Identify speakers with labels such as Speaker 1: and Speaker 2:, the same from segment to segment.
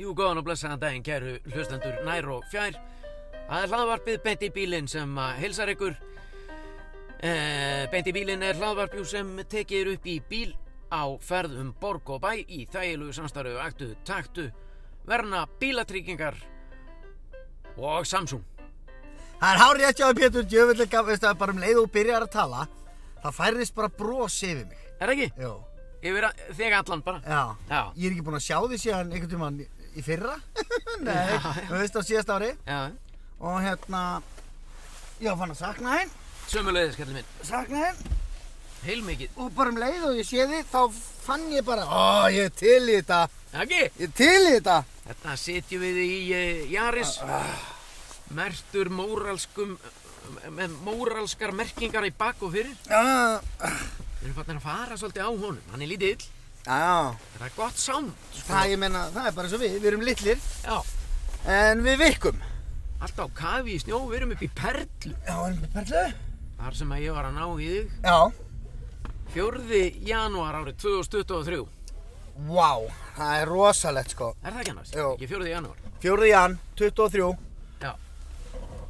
Speaker 1: Góðan og blessaðan daginn, kæru hlustendur nær og fjær. Það er hlaðvarpið Beint í bílinn sem að hilsar ykkur. E, beint í bílinn er hlaðvarpjú sem tekið er upp í bíl á ferð um borg og bæ í þægilegu samstarfu aktu taktu verna bílatryggingar og Samsung.
Speaker 2: Það er hárið eftir að Pétur djöfull er gaf, veistu að bara um leið og þú byrjar að tala, það færðist bara bros yfir mig.
Speaker 1: Er það ekki?
Speaker 2: Jó,
Speaker 1: Yfir að, þig allan bara.
Speaker 2: já.
Speaker 1: Já.
Speaker 2: Ég er ekki búinn að sjá því síðan einhvern tímann í- í fyrra. Nei, þú veist á síðast ári.
Speaker 1: Já,
Speaker 2: Og hérna, ég var fann að sakna henn,
Speaker 1: sömulegðis, kallið minn.
Speaker 2: sakna henn.
Speaker 1: Heilmikið.
Speaker 2: Og bara um leið og ég sé þið, þá fann ég bara, ó, ég er til í þetta,
Speaker 1: Það ekki?
Speaker 2: ég er til í þetta.
Speaker 1: Þetta setjum við í uh, Jaris
Speaker 2: Ah,
Speaker 1: Mertur móralskum eh, með móralskar merkingar í bak og fyrir
Speaker 2: Já,
Speaker 1: Við erum fannir að fara svolítið á honum Hann er lítill,
Speaker 2: já.
Speaker 1: þetta er gott sound sko.
Speaker 2: Það, ég meina, það er bara svo við, við erum litlir,
Speaker 1: Já,
Speaker 2: en við virkum.
Speaker 1: allt á kafi í snjó, við erum upp í Perlu
Speaker 2: Já, erum við perlu?
Speaker 1: Þar sem að ég var að ná í þig
Speaker 2: Já.
Speaker 1: 4. janúar árið 2023
Speaker 2: Vá, það er rosalegt sko.
Speaker 1: Er það ekki annars?
Speaker 2: Jú.
Speaker 1: Ekki 4. janúar
Speaker 2: 4. jan, 23
Speaker 1: Já,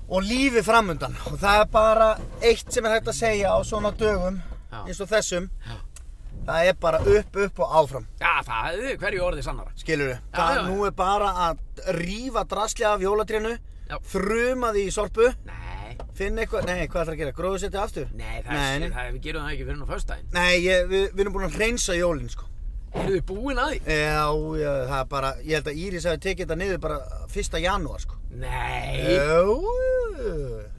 Speaker 2: og lífið framundan og það er bara eitt sem er hægt að segja á svona dögum
Speaker 1: Já.
Speaker 2: eins og þessum
Speaker 1: Já.
Speaker 2: það er bara upp, upp og áfram
Speaker 1: Já það er hverju orðið sannara
Speaker 2: skilur við,
Speaker 1: já, já.
Speaker 2: nú er bara að rífa drasli af jólatrénu
Speaker 1: Já.
Speaker 2: þruma því í sorpu
Speaker 1: Nei,
Speaker 2: finna eitthvað, nei hvað ætlar að gera, gróðu setja aftur
Speaker 1: nei, það
Speaker 2: nei,
Speaker 1: er,
Speaker 2: nei.
Speaker 1: það er, við gerum það ekki fyrir nú föstudaginn
Speaker 2: nei ég, við, við erum búin að hreinsa jólin sko
Speaker 1: Erum við búin að því?
Speaker 2: já, já, það er bara, ég held að Íris hafi tekið þetta niður bara 1. janúar sko
Speaker 1: Nei
Speaker 2: já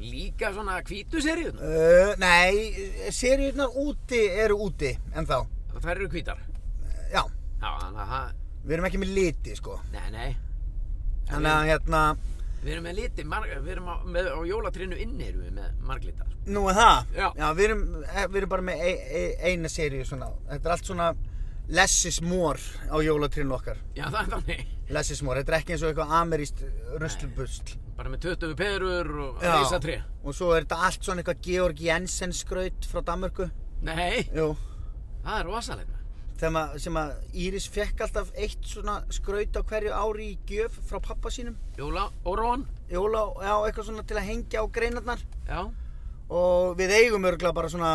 Speaker 1: Líka svona hvítu seríun
Speaker 2: Uh, nei, seríurnar úti eru úti en þá,
Speaker 1: Það eru hvítar
Speaker 2: já,
Speaker 1: Já, þannig að það
Speaker 2: við erum ekki með liti sko
Speaker 1: Nei, nei
Speaker 2: Þannig að hérna,
Speaker 1: Við erum með liti mar... Við erum á, með, á jólatrinu inni erum við með marglita sko.
Speaker 2: nú er það
Speaker 1: Já.
Speaker 2: við, erum, eh, við erum bara með e e eina seríu svona Þetta er allt svona less is more á jólatrinu okkar
Speaker 1: Já, það er þannig
Speaker 2: Less is more, þetta er ekki eins og eitthvað ameríst ruslubusl
Speaker 1: Bara með 20 perur og
Speaker 2: Já.
Speaker 1: reisatri
Speaker 2: Og svo er þetta allt svona eitthvað Georg Jensen skraut frá Danmörku
Speaker 1: Nei,
Speaker 2: Jú
Speaker 1: það er rosalegt maður.
Speaker 2: Þegar maður, sem að Íris fekk alltaf eitt svona skraut á hverju ári í gjöf frá pappa sínum
Speaker 1: Jóla og rón
Speaker 2: Jóla, já, eitthvað svona til að hengja á greinarnar
Speaker 1: Já,
Speaker 2: og við eigum örgulega bara svona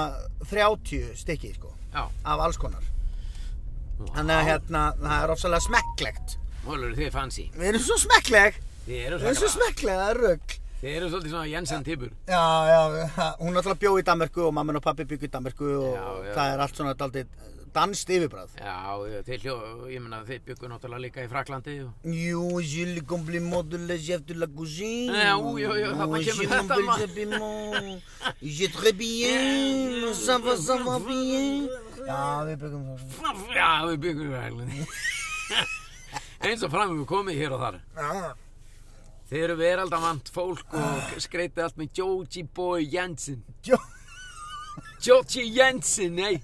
Speaker 2: 30 stykki sko,
Speaker 1: já
Speaker 2: af alls konar
Speaker 1: Vá.
Speaker 2: þannig að hérna, það er ofsalega smekklegt
Speaker 1: Nú eru þið fancy
Speaker 2: við erum svo smekkleg
Speaker 1: Þið eru
Speaker 2: við erum svo
Speaker 1: svakalega
Speaker 2: smekkleg, það er rögg
Speaker 1: Þið eru svolítið svona Jensen Tibur
Speaker 2: já, já, það- hún náttúrulega bjó í Danmörku og mamma og pappi byggu í Danmörku og
Speaker 1: Já, já.
Speaker 2: það er allt svona daldið danst yfirbræð
Speaker 1: Já, þið hljó Ég meina þið byggu náttúrulega líka í Fraklandi og...
Speaker 2: Jú, je le compliment de la chef de la cuisine.
Speaker 1: Já, jú, jú, þarna
Speaker 2: Je
Speaker 1: kemur þetta,
Speaker 2: m'appelle
Speaker 1: maður.
Speaker 2: Zabimon. Je très bien. Ça va, ça va bien. Já, við byggum það.
Speaker 1: Já, við byggum í Fraklandi Eins og fram við komið hér og þar
Speaker 2: Já,
Speaker 1: Þið eru veraldamant fólk og skreitið allt með Joji Boy Jensen.
Speaker 2: Jó,
Speaker 1: Joji Jensen, nei.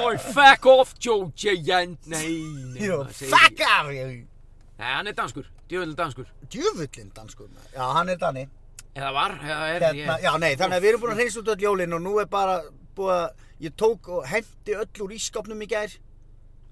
Speaker 1: Oi, fuck off Joji Jensen, nei, nei.
Speaker 2: jú,
Speaker 1: maður segir
Speaker 2: fuck
Speaker 1: ekki.
Speaker 2: af ég.
Speaker 1: Nei, hann er danskur, djöfull danskur.
Speaker 2: Djöfullin danskur maður. Já, hann er danni.
Speaker 1: Eða var, eða er,
Speaker 2: Hérna, já, nei, þannig að við erum búin að hreinsa út öll jólin og nú er bara búið að, ég tók og hendi öll úr ískapnum í gær.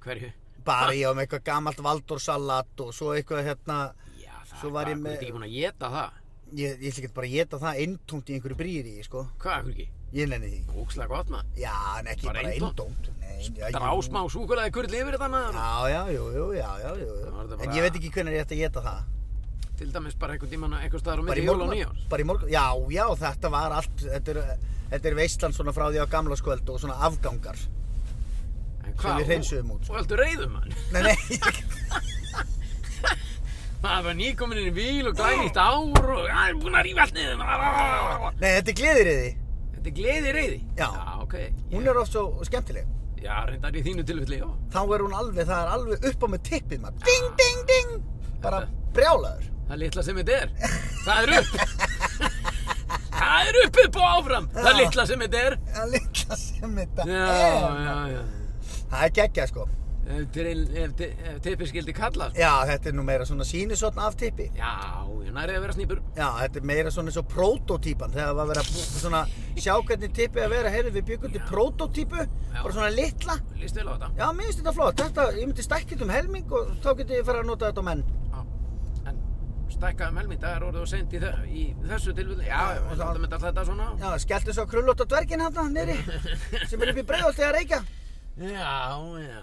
Speaker 1: Hverju?
Speaker 2: Bara ég var með eitthvað gamalt valdórsalat og svo eitthvað hérna,
Speaker 1: Já, það,
Speaker 2: Svo var ég
Speaker 1: hvað,
Speaker 2: með-
Speaker 1: hvað, ekki búin að geta það?
Speaker 2: ég, ég ætla ekki bara að geta það eintómt í einhverju brýri, sko.
Speaker 1: Hvað, hverju ekki?
Speaker 2: Ég nenni því.
Speaker 1: Ókslega gott maður.
Speaker 2: Já, en ekki
Speaker 1: Bara
Speaker 2: bara
Speaker 1: eintómt?
Speaker 2: eintómt. Nei, já, jú.
Speaker 1: Drá smá súkulega kurl yfir þetta maður.
Speaker 2: Já, já, jú, jú, já, já, jú. jú.
Speaker 1: Það var þetta
Speaker 2: En
Speaker 1: bara-
Speaker 2: ég veit ekki hvernig ég ætti að geta það.
Speaker 1: Til dæmis bara einhvern tíman einhver staðar á myndi
Speaker 2: í
Speaker 1: jól og
Speaker 2: morgun-
Speaker 1: nýjárs.
Speaker 2: bara í morgun, já, já, þetta var allt, þetta er, þetta er veistlan svona frá því á gamla skvöld og svona afgangar.
Speaker 1: En hvað?
Speaker 2: við hreinsuðum út, sko.
Speaker 1: Og heldur reyðum hann.
Speaker 2: Nei, nei,
Speaker 1: Það var nýkomin inn í bíl og glænýtt ár og það er búin að rífa allt niður.
Speaker 2: nei, þetta er gleðiriði.
Speaker 1: Þetta er gleði reyði?
Speaker 2: Já.
Speaker 1: Já, ok.
Speaker 2: Hún er oft svo skemmtileg.
Speaker 1: Já, reyndar í þínu tilfelli, já.
Speaker 2: Þá er hún alveg, það er alveg upp á með tippið maður. Ding, ding, ding. Bara brjálaður.
Speaker 1: Það er litla sem þetta er. Það er upp. það er upp upp og áfram. Það er
Speaker 2: Já.
Speaker 1: litla sem þetta er.
Speaker 2: Það er litla sem þetta
Speaker 1: Já,
Speaker 2: er.
Speaker 1: já, já.
Speaker 2: Það er geggjað sko.
Speaker 1: ef, drill, ef, ti- ef tippi skildi kalla sko.
Speaker 2: Já, þetta er nú meira svona sínisotn af tippi.
Speaker 1: Já, ég nærið að vera snýpur
Speaker 2: Já, þetta er meira svona eins og prototípan þegar var verið að bú- svona, sjá hvernig tippi að vera, heyrðu við byggum til
Speaker 1: Já.
Speaker 2: prototípu, bara svona litla.
Speaker 1: Lýst vel á þetta
Speaker 2: Já, mér finnst þetta flott, þetta, ég myndi stækka þetta um helming og þá geti ég fara að nota þetta á menn.
Speaker 1: Já. En stækkaði melmi, það er orðið og seint í, þe í þessu tilfell Já,
Speaker 2: Já,
Speaker 1: við látum þetta alltaf þetta svona
Speaker 2: Já, skellt þessu á krullótt og dvergin hann niðri, sem er upp í breiðolti að reykja.
Speaker 1: Já, já, já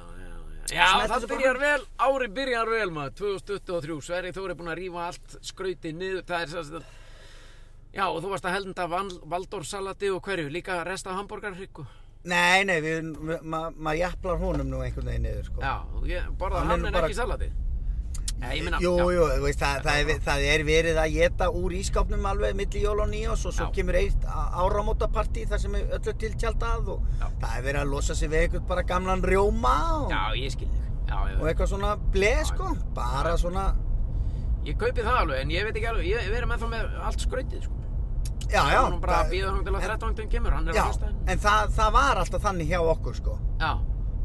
Speaker 1: Já, já
Speaker 2: Smeltu
Speaker 1: það
Speaker 2: þessu bara.
Speaker 1: byrjar vel, árið byrjar vel maður 2023, Sverri Þór er búin að rífa allt skrautið niður, það er sérst að Já, og þú varst að helnda valdórsalati og hverju, líka resta hambúrgarhryggu.
Speaker 2: Nei, nei, við, við- ma- maður ma jaflar honum nú einhvern veginn niður, sko.
Speaker 1: Já, og ég borðaði
Speaker 2: Hann er
Speaker 1: hann
Speaker 2: nú
Speaker 1: en
Speaker 2: bara-
Speaker 1: ekki salati. Nei, ég meina,
Speaker 2: jú,
Speaker 1: já.
Speaker 2: jú, þú veist, það, það, er, það er verið að geta úr ískápnum alveg milli jól og nýjós og svo
Speaker 1: Já.
Speaker 2: kemur eitt áramótapartí þar sem er öllu tiltjald að og
Speaker 1: Já.
Speaker 2: það er verið að losa sig við eitthvað bara gamlan rjóma og,
Speaker 1: Já, ég skil þig. Já,
Speaker 2: og
Speaker 1: ég,
Speaker 2: eitthvað svona bleð, sko, bara svona,
Speaker 1: ég kaupi það alveg, en ég veit ekki alveg, ég við erum ennþá með allt skrautið, sko.
Speaker 2: já, já.
Speaker 1: Það er nú bara að
Speaker 2: það-
Speaker 1: býða hann til að 13. kemur, hann er
Speaker 2: Já,
Speaker 1: á fyrstaðin.
Speaker 2: en það, það var alltaf þannig hjá okkur, sko.
Speaker 1: Já,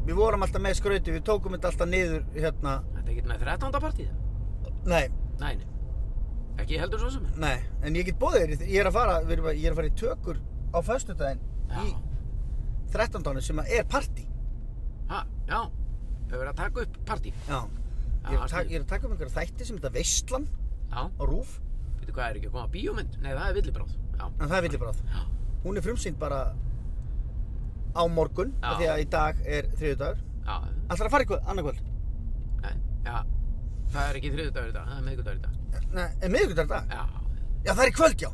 Speaker 2: Við vorum alltaf með skrauti, við tókum þetta alltaf niður, hérna,
Speaker 1: þetta er ekkert með 13. partíð.
Speaker 2: nei,
Speaker 1: Nei, nei. Ekki heldur svo sem.
Speaker 2: nei, en ég get bóðið þér, í- ég er að fara, við erum að, ég er að fara í tökur á föstudaginn
Speaker 1: Já.
Speaker 2: í 13. ánum sem að er partí.
Speaker 1: Ha, já. Þau verið að taka upp partí.
Speaker 2: Já.
Speaker 1: Já,
Speaker 2: Ég er, að ta-
Speaker 1: sniðugt.
Speaker 2: ég er að taka um einhverja þætti sem þetta Veistlan
Speaker 1: Já.
Speaker 2: á Rúf,
Speaker 1: Veitu hvað er ekki að koma? Bíómynd? Nei, það er villibráð. Já.
Speaker 2: en það er villibráð.
Speaker 1: Já.
Speaker 2: Hún er frumsýnd bara á morgun,
Speaker 1: Já.
Speaker 2: af því að í dag er þriðjudagur.
Speaker 1: Já.
Speaker 2: Ætlar að fara eitthvað, annarkvöld?
Speaker 1: Nei, já. Það er ekki þriðudagur í dag, það er miðgudagur í dag.
Speaker 2: Nei, er miðvikudagur í dag?
Speaker 1: Já.
Speaker 2: Já, það er í kvöld, já.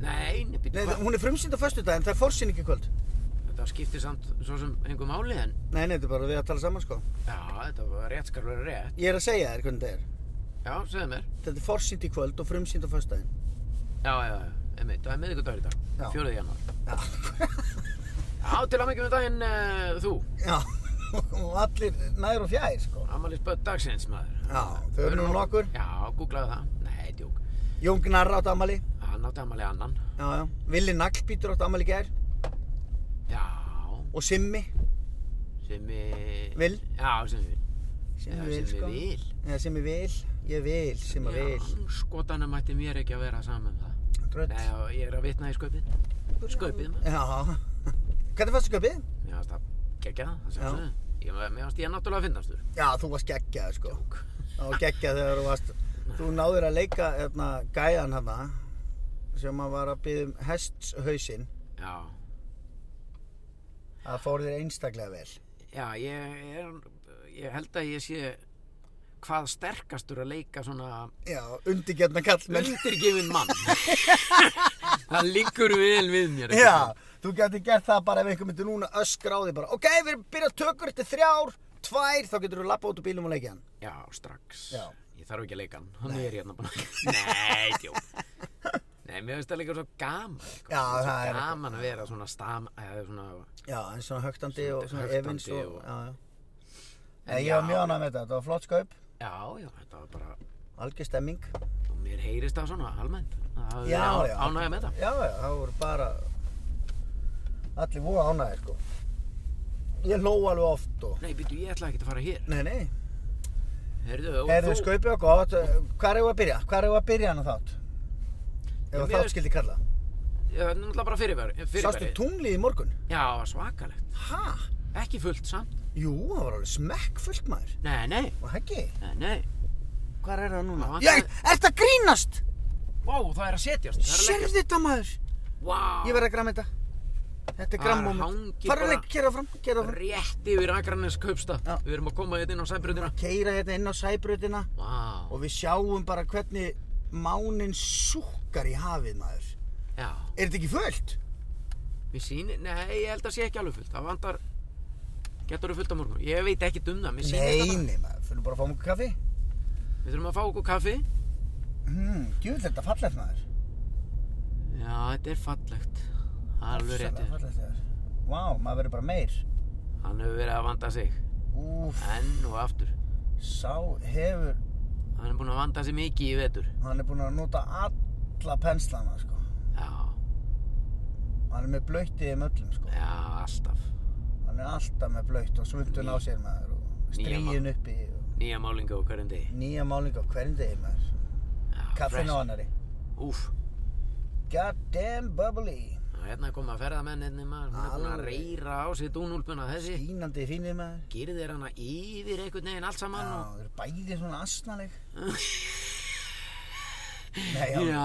Speaker 1: Nei, nei,
Speaker 2: Nei,
Speaker 1: býttu
Speaker 2: það-
Speaker 1: hvað?
Speaker 2: hún er frumsýnd á föstudag, en það er forsýning í kvöld.
Speaker 1: Þetta skiptir samt svo sem einhver máli en
Speaker 2: Nei, nei, þetta er bara við að tala saman, sko.
Speaker 1: já, þetta var rétt skal vera rétt.
Speaker 2: Ég er að segja þér hvernig þetta er.
Speaker 1: Já, segðu mér.
Speaker 2: Þetta er forsýnd í kvöld og frumsýnd á föstudaginn.
Speaker 1: Já, já, já, einmitt, það er miðvikudagur í
Speaker 2: Já.
Speaker 1: dag, fjóruði januar.
Speaker 2: Já.
Speaker 1: Já, til að mikið með daginn uh, þú,
Speaker 2: já, og allir nær og fjær, sko.
Speaker 1: Amalís Bödd dagsins maður.
Speaker 2: Já, þau eru nú nokkur.
Speaker 1: Já, googlaðu það. Nei, djók.
Speaker 2: Jón Gnarr átt amali.
Speaker 1: Hann átti Amali annan.
Speaker 2: Já, já. Villi Naglbítur átt amali gær.
Speaker 1: Já,
Speaker 2: Og Simmi.
Speaker 1: sem ég...
Speaker 2: Vil.
Speaker 1: Já, sem ég vil.
Speaker 2: Simmi
Speaker 1: Já,
Speaker 2: vil,
Speaker 1: sem
Speaker 2: sko.
Speaker 1: ég vil.
Speaker 2: Eða Simmi vil. Ég vil, Simmi vil.
Speaker 1: Já, skotanum ætti mér ekki að vera saman um það.
Speaker 2: Drödd.
Speaker 1: Nei, já, ég er að vitna í sköpið. Sköpið maður.
Speaker 2: Já. Hvernig fannst þú köpið?
Speaker 1: Mér fannst það geggjað, það
Speaker 2: Já.
Speaker 1: sjálfsögðu. Ég- Mér fannst ég náttúrulega að finnast þurr.
Speaker 2: Já, þú varst geggjað, sko. Já, geggjað þegar þú varst. Þú náður að leika hérna, gæðan hana sem að var að biðja um hestshausinn.
Speaker 1: Já,
Speaker 2: Það fór þér einstaklega vel.
Speaker 1: já, ég er, ég held að ég sé hvað sterkastur að leika svona
Speaker 2: Já, undirgefna kallmenn.
Speaker 1: undirgefin mann. það liggur vel við mér. ekki
Speaker 2: Já,
Speaker 1: satt?
Speaker 2: þú getur gert það bara ef einhver myndir núna öskra á því bara Ok, við erum byrjað tökur, þetta er þrjár, tvær, þá getur þú lappa út úr bílum og leikja hann
Speaker 1: Já, strax.
Speaker 2: Já.
Speaker 1: Ég þarf ekki að leika hann, hann er hérna bara. Nei, djó. Nei, mér finnst það líka svo gaman. eitthvað.
Speaker 2: Já,
Speaker 1: svo
Speaker 2: það er-
Speaker 1: Gaman að vera svona stam, eða svona...
Speaker 2: Já, eins og högtandi
Speaker 1: Svona
Speaker 2: og svona
Speaker 1: höktandi
Speaker 2: evins og,
Speaker 1: og-
Speaker 2: Já, já
Speaker 1: En
Speaker 2: Nei, ég var
Speaker 1: já.
Speaker 2: mjög ánægð með þetta, þetta var flott skaup,
Speaker 1: Já, já, þetta var bara...
Speaker 2: algjör stemming
Speaker 1: Og mér heyrist það svona, almennt. Það hafi
Speaker 2: Já,
Speaker 1: verið
Speaker 2: já.
Speaker 1: á- Ánægja með það.
Speaker 2: Já, já, það voru bara allir voru ánægðir sko Ég hló alveg oft og
Speaker 1: Nei, býttu, ég ætla ekki að fara hér.
Speaker 2: Nei, nei,
Speaker 1: Herðu, og
Speaker 2: heyrðu skaupið og gott, hvað er ég að byrja? Hvað er ég að byrja hann að þátt?
Speaker 1: Já,
Speaker 2: Ef að
Speaker 1: mér
Speaker 2: þátt
Speaker 1: veist-
Speaker 2: skildi kalla
Speaker 1: Já, það er náttúrulega bara fyrirverið.
Speaker 2: Sástu tunglið í morgun?
Speaker 1: Já, svakalegt.
Speaker 2: Ha?
Speaker 1: Ekki fullt samt.
Speaker 2: Jú, það var alveg smekkfullt maður
Speaker 1: Nei, nei,
Speaker 2: Og heggi
Speaker 1: nei, nei.
Speaker 2: Hvað er það núna?
Speaker 1: Það vantar-
Speaker 2: Ég, ert að grínast?
Speaker 1: Vá, það er að setjast. Það er að
Speaker 2: Sérðu
Speaker 1: leggjast.
Speaker 2: þetta maður?
Speaker 1: Vá.
Speaker 2: Ég verð að gramma þetta. Þetta er
Speaker 1: Það
Speaker 2: grammóment.
Speaker 1: hangir
Speaker 2: Fara að
Speaker 1: bara-
Speaker 2: leik, kera fram, kera fram.
Speaker 1: Rétt yfir Akranes kaupstað.
Speaker 2: Já.
Speaker 1: Við erum að koma hérna inn á sæmbrutina.
Speaker 2: Keira hérna inn á sæbröðina
Speaker 1: Vá.
Speaker 2: og við sjáum bara hvernig mánin súkkar í hafið maður.
Speaker 1: Já.
Speaker 2: Er þetta ekki fullt?
Speaker 1: Mér sýnir, nei, ég held að sé ekki alveg fullt. Það vantar, getur þú fullt á morgun? Ég veit ekki um það, mér sýnir þetta bara.
Speaker 2: Neini maður, fyrir bara að fá mjög kaffi.
Speaker 1: Við þurfum að fá okkur kaffi.
Speaker 2: Hmm, djúvill þetta fallegt maður.
Speaker 1: Já, þetta er fallegt. Það er alveg
Speaker 2: Ofsalega
Speaker 1: réttið.
Speaker 2: Fallegt maður. Vá, maður verður bara meir.
Speaker 1: Hann hefur verið að vanda sig.
Speaker 2: Úf,
Speaker 1: Enn og aftur.
Speaker 2: sá hefur,
Speaker 1: Hann er búinn að vanda sig mikið í vetur.
Speaker 2: hann er búinn að nota alla penslana sko.
Speaker 1: Já,
Speaker 2: Hann er með blöytið um öllum sko.
Speaker 1: já, alltaf.
Speaker 2: hann er alltaf með blöytt og svundun á sér maður og stríin uppi
Speaker 1: Nýja málinga á hverjum degi.
Speaker 2: nýja málinga á hverjum degi maður
Speaker 1: Já,
Speaker 2: kaffin
Speaker 1: fresh.
Speaker 2: á annari
Speaker 1: Úff,
Speaker 2: god damn bubbly
Speaker 1: já, hérna koma ferðamenninni maður, hún er búin að
Speaker 2: Alveg.
Speaker 1: reyra á sig dúnúlpuna þessi.
Speaker 2: stínandi fínir maður
Speaker 1: Girðir hana yfir einhvern veginn allt
Speaker 2: Já,
Speaker 1: saman og...
Speaker 2: þeir eru bæði svona asnaleg Nei,
Speaker 1: Já,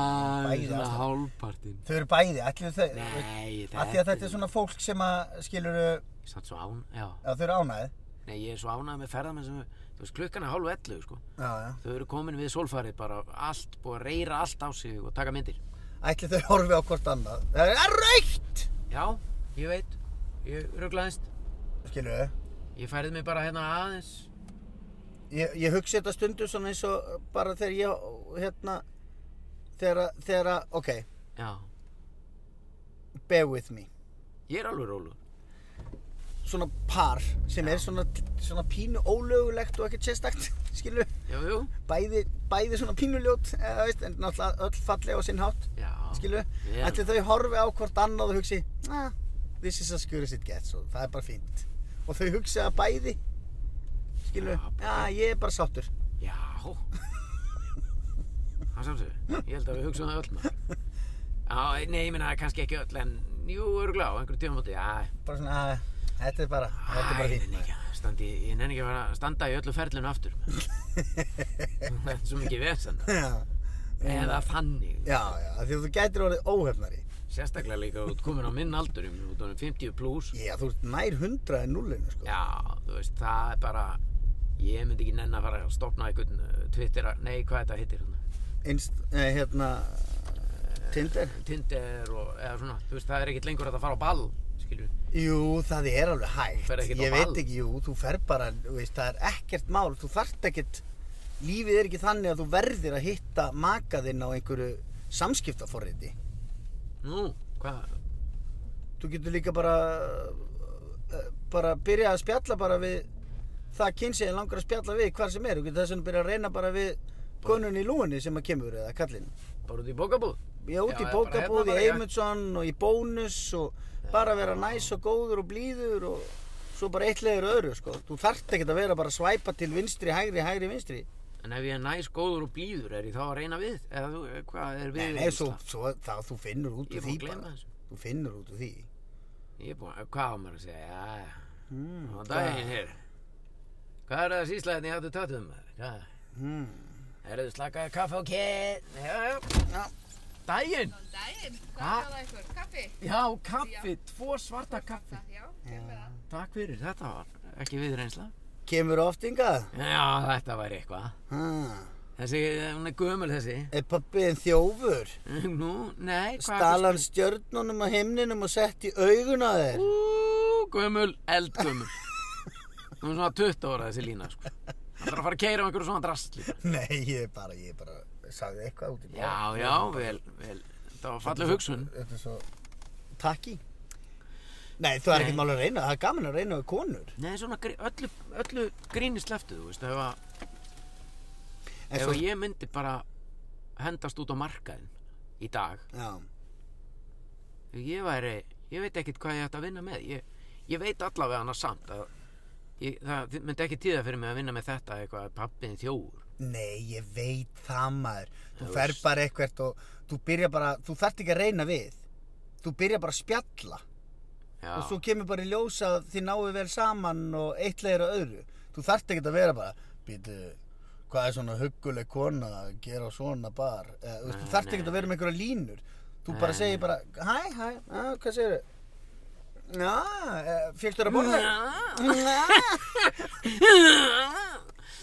Speaker 2: bæði
Speaker 1: svona
Speaker 2: asnaleg
Speaker 1: hálfpartinn.
Speaker 2: Þau eru bæði, allir þau
Speaker 1: Nei,
Speaker 2: Af því að þetta er svona fólk sem að skilur að
Speaker 1: Samt svo án, já.
Speaker 2: þau eru ánæði
Speaker 1: Nei, ég er svo ánægð með ferðamenn sem... Þú veist, klukkan er hálf ellu, sko.
Speaker 2: Já, já
Speaker 1: Þau eru komin við sólfarið bara allt, búið að reyra allt á sig og taka myndir.
Speaker 2: Ætli þau horfi á hvort annað Það er raukt
Speaker 1: Já, ég veit, ég rugglaðist.
Speaker 2: Skilur þau
Speaker 1: Ég færði mig bara hérna aðeins
Speaker 2: Ég, ég hugsi þetta stundu svona eins og bara þegar ég, hérna, þegar, að- þegar, að- ok,
Speaker 1: Já,
Speaker 2: bear with me.
Speaker 1: ég er alveg rólur.
Speaker 2: Svona par sem er svona, svona pínu ólögulegt og ekkert sérstakt, skilu.
Speaker 1: Jú, jú.
Speaker 2: Bæði, bæði svona pínuljót, eða veist, en náttúrulega öll fallega á sinn hátt,
Speaker 1: Já.
Speaker 2: skilu.
Speaker 1: Já.
Speaker 2: Ætli þau horfi á hvort annað og hugsi, ah, this is as good as it gets og það er bara fínt. Og þau hugsi að bæði, skilu,
Speaker 1: Já, bara-
Speaker 2: já, ég er bara sáttur.
Speaker 1: Já. Það samsögur. Ég held að við hugsaum það öll maður. Já, nei, ég minna kannski ekki öll, en jú, örgulega á einhverjum tímamóti. Já,
Speaker 2: Bara svona, ah, þetta er bara, þetta er
Speaker 1: Æ,
Speaker 2: bara
Speaker 1: ég
Speaker 2: fínt.
Speaker 1: nenni
Speaker 2: maður."
Speaker 1: ekki að Standi, ég nenni ekki að fara að standa í öllu ferlinu aftur. maður. Það er svo mikið vesen.
Speaker 2: Já.
Speaker 1: Eða þannig.
Speaker 2: Já, já, af því að þú gætir orðið óhefnari.
Speaker 1: Sérstaklega líka út komin á minn aldur, ég meina, út á honum 50 pluss.
Speaker 2: Já, þú ert nær hundra en nullinu, sko.
Speaker 1: Já, þú veist, það er bara, ég myndi ekki nenni að fara að stopna einhvern uh, Twitter, nei, hvað þetta hittir hérna?
Speaker 2: Einst, eh, hérna, Tinder.
Speaker 1: Tinder og eða svona, þú veist, það er ekkert lengur hægt að fara á ball, skilju.
Speaker 2: Jú, það er alveg hægt.
Speaker 1: ferð ekkert á
Speaker 2: Ég
Speaker 1: ball.
Speaker 2: veit ekki, jú, þú fer bara, þú veist, það er ekkert mál. Þú þarft ekkert, lífið er ekki þannig að þú verðir að hitta makaðinn á einhverju samskiptaforriti.
Speaker 1: Nú, hvað,
Speaker 2: Þú getur líka bara, eh, bara byrja að spjalla bara við það kynsegin langar að spjalla við hvar sem er. Þú getur þess vegna byrja að reyna bara við konun í lúinni sem að kemur eða kallinn.
Speaker 1: bara út í bókabúð?
Speaker 2: Ég út í
Speaker 1: Já, já,
Speaker 2: bókabúð,
Speaker 1: bara hérna bara,
Speaker 2: í
Speaker 1: já.
Speaker 2: Eymundsson og í bónus og bara vera næs og góður og blíður og svo bara eitt leiður öðru sko. Þú þarft ekkert að vera bara að svæpa til vinstri, hægri, hægri, vinstri.
Speaker 1: En ef ég er næs, góður og blíður, er ég þá að reyna við? Eða þú, eh, hvað er við?
Speaker 2: Nei, nei, svo, svo það, þú finnur út
Speaker 1: Ég
Speaker 2: úr
Speaker 1: er búin
Speaker 2: því
Speaker 1: að gleyma
Speaker 2: bara.
Speaker 1: þessu.
Speaker 2: Þú finnur út úr því.
Speaker 1: Ég er búin, hvað á maður að segja, já, já.
Speaker 2: Mm,
Speaker 1: Á daginn hér. Hvað er það hérna síslæðin ég hættu tattum? Hvað?
Speaker 2: Mm.
Speaker 1: Erðu slakaði kaffe og kett? Já, já.
Speaker 2: Já.
Speaker 1: Daginn?
Speaker 3: Góðan daginn,
Speaker 1: Ha?
Speaker 3: hvað er það ykkur? Kaffi?
Speaker 1: Já, kaffi, tvo svarta kaffi.
Speaker 3: Það, já, til með það.
Speaker 1: Takk fyrir, þetta var ekki viðreynsla.
Speaker 2: Kemur oft yngað?
Speaker 1: Já, þetta var eitthvað.
Speaker 2: Ha.
Speaker 1: Þessi, hún er gömul þessi.
Speaker 2: Er pappiðin þjófur?
Speaker 1: Nú, nei, hvað
Speaker 2: Stal hann stjörnunum á himninum og sett í augun á þér?
Speaker 1: Ú, gömul, eldgömul. Hún er svona 20 ára þessi lína, sko. Hann þarf að fara að keira um einhverju svona drast líka.
Speaker 2: Nei, ég bara, ég bara sagði eitthvað út í
Speaker 1: Já, já, vel, vel. Þetta var falleg hugsun.
Speaker 2: Þetta er svo takki Nei, þú er
Speaker 1: Nei.
Speaker 2: ekkert mál að reyna, það er gaman að reyna við konur
Speaker 1: Nei, svona grí- öllu, öllu gríni sleftu, þú veist, ef, að,
Speaker 2: En
Speaker 1: ef ég myndi bara hendast út á markaðinn í dag,
Speaker 2: Já,
Speaker 1: ég væri, ég veit ekkert hvað ég ætti að vinna með. Ég, ég veit allavega hana samt að ég, það myndi ekki tíða fyrir mig að vinna með þetta eitthvað pappin þjóður.
Speaker 2: nei, ég veit það maður Þú
Speaker 1: Þú
Speaker 2: fer
Speaker 1: veist.
Speaker 2: bara eitthvert og þú byrja bara, þú þarft ekki að reyna við Þú byrja bara að spjalla
Speaker 1: Já.
Speaker 2: og svo kemur bara í ljósa að þið náu vel saman og eitt leiðir að öðru Þú þarft ekki að vera bara, býtu, hvað er svona hugguleg kona að gera á svona bar Eða, þú veist, Þú
Speaker 1: Nei,
Speaker 2: þarft
Speaker 1: nei,
Speaker 2: ekki að vera með einhverja línur Þú
Speaker 1: Nei,
Speaker 2: bara
Speaker 1: nei.
Speaker 2: segir bara, hæ, hæ, á, hvað segirðu? Já, fyrstu þér að borða?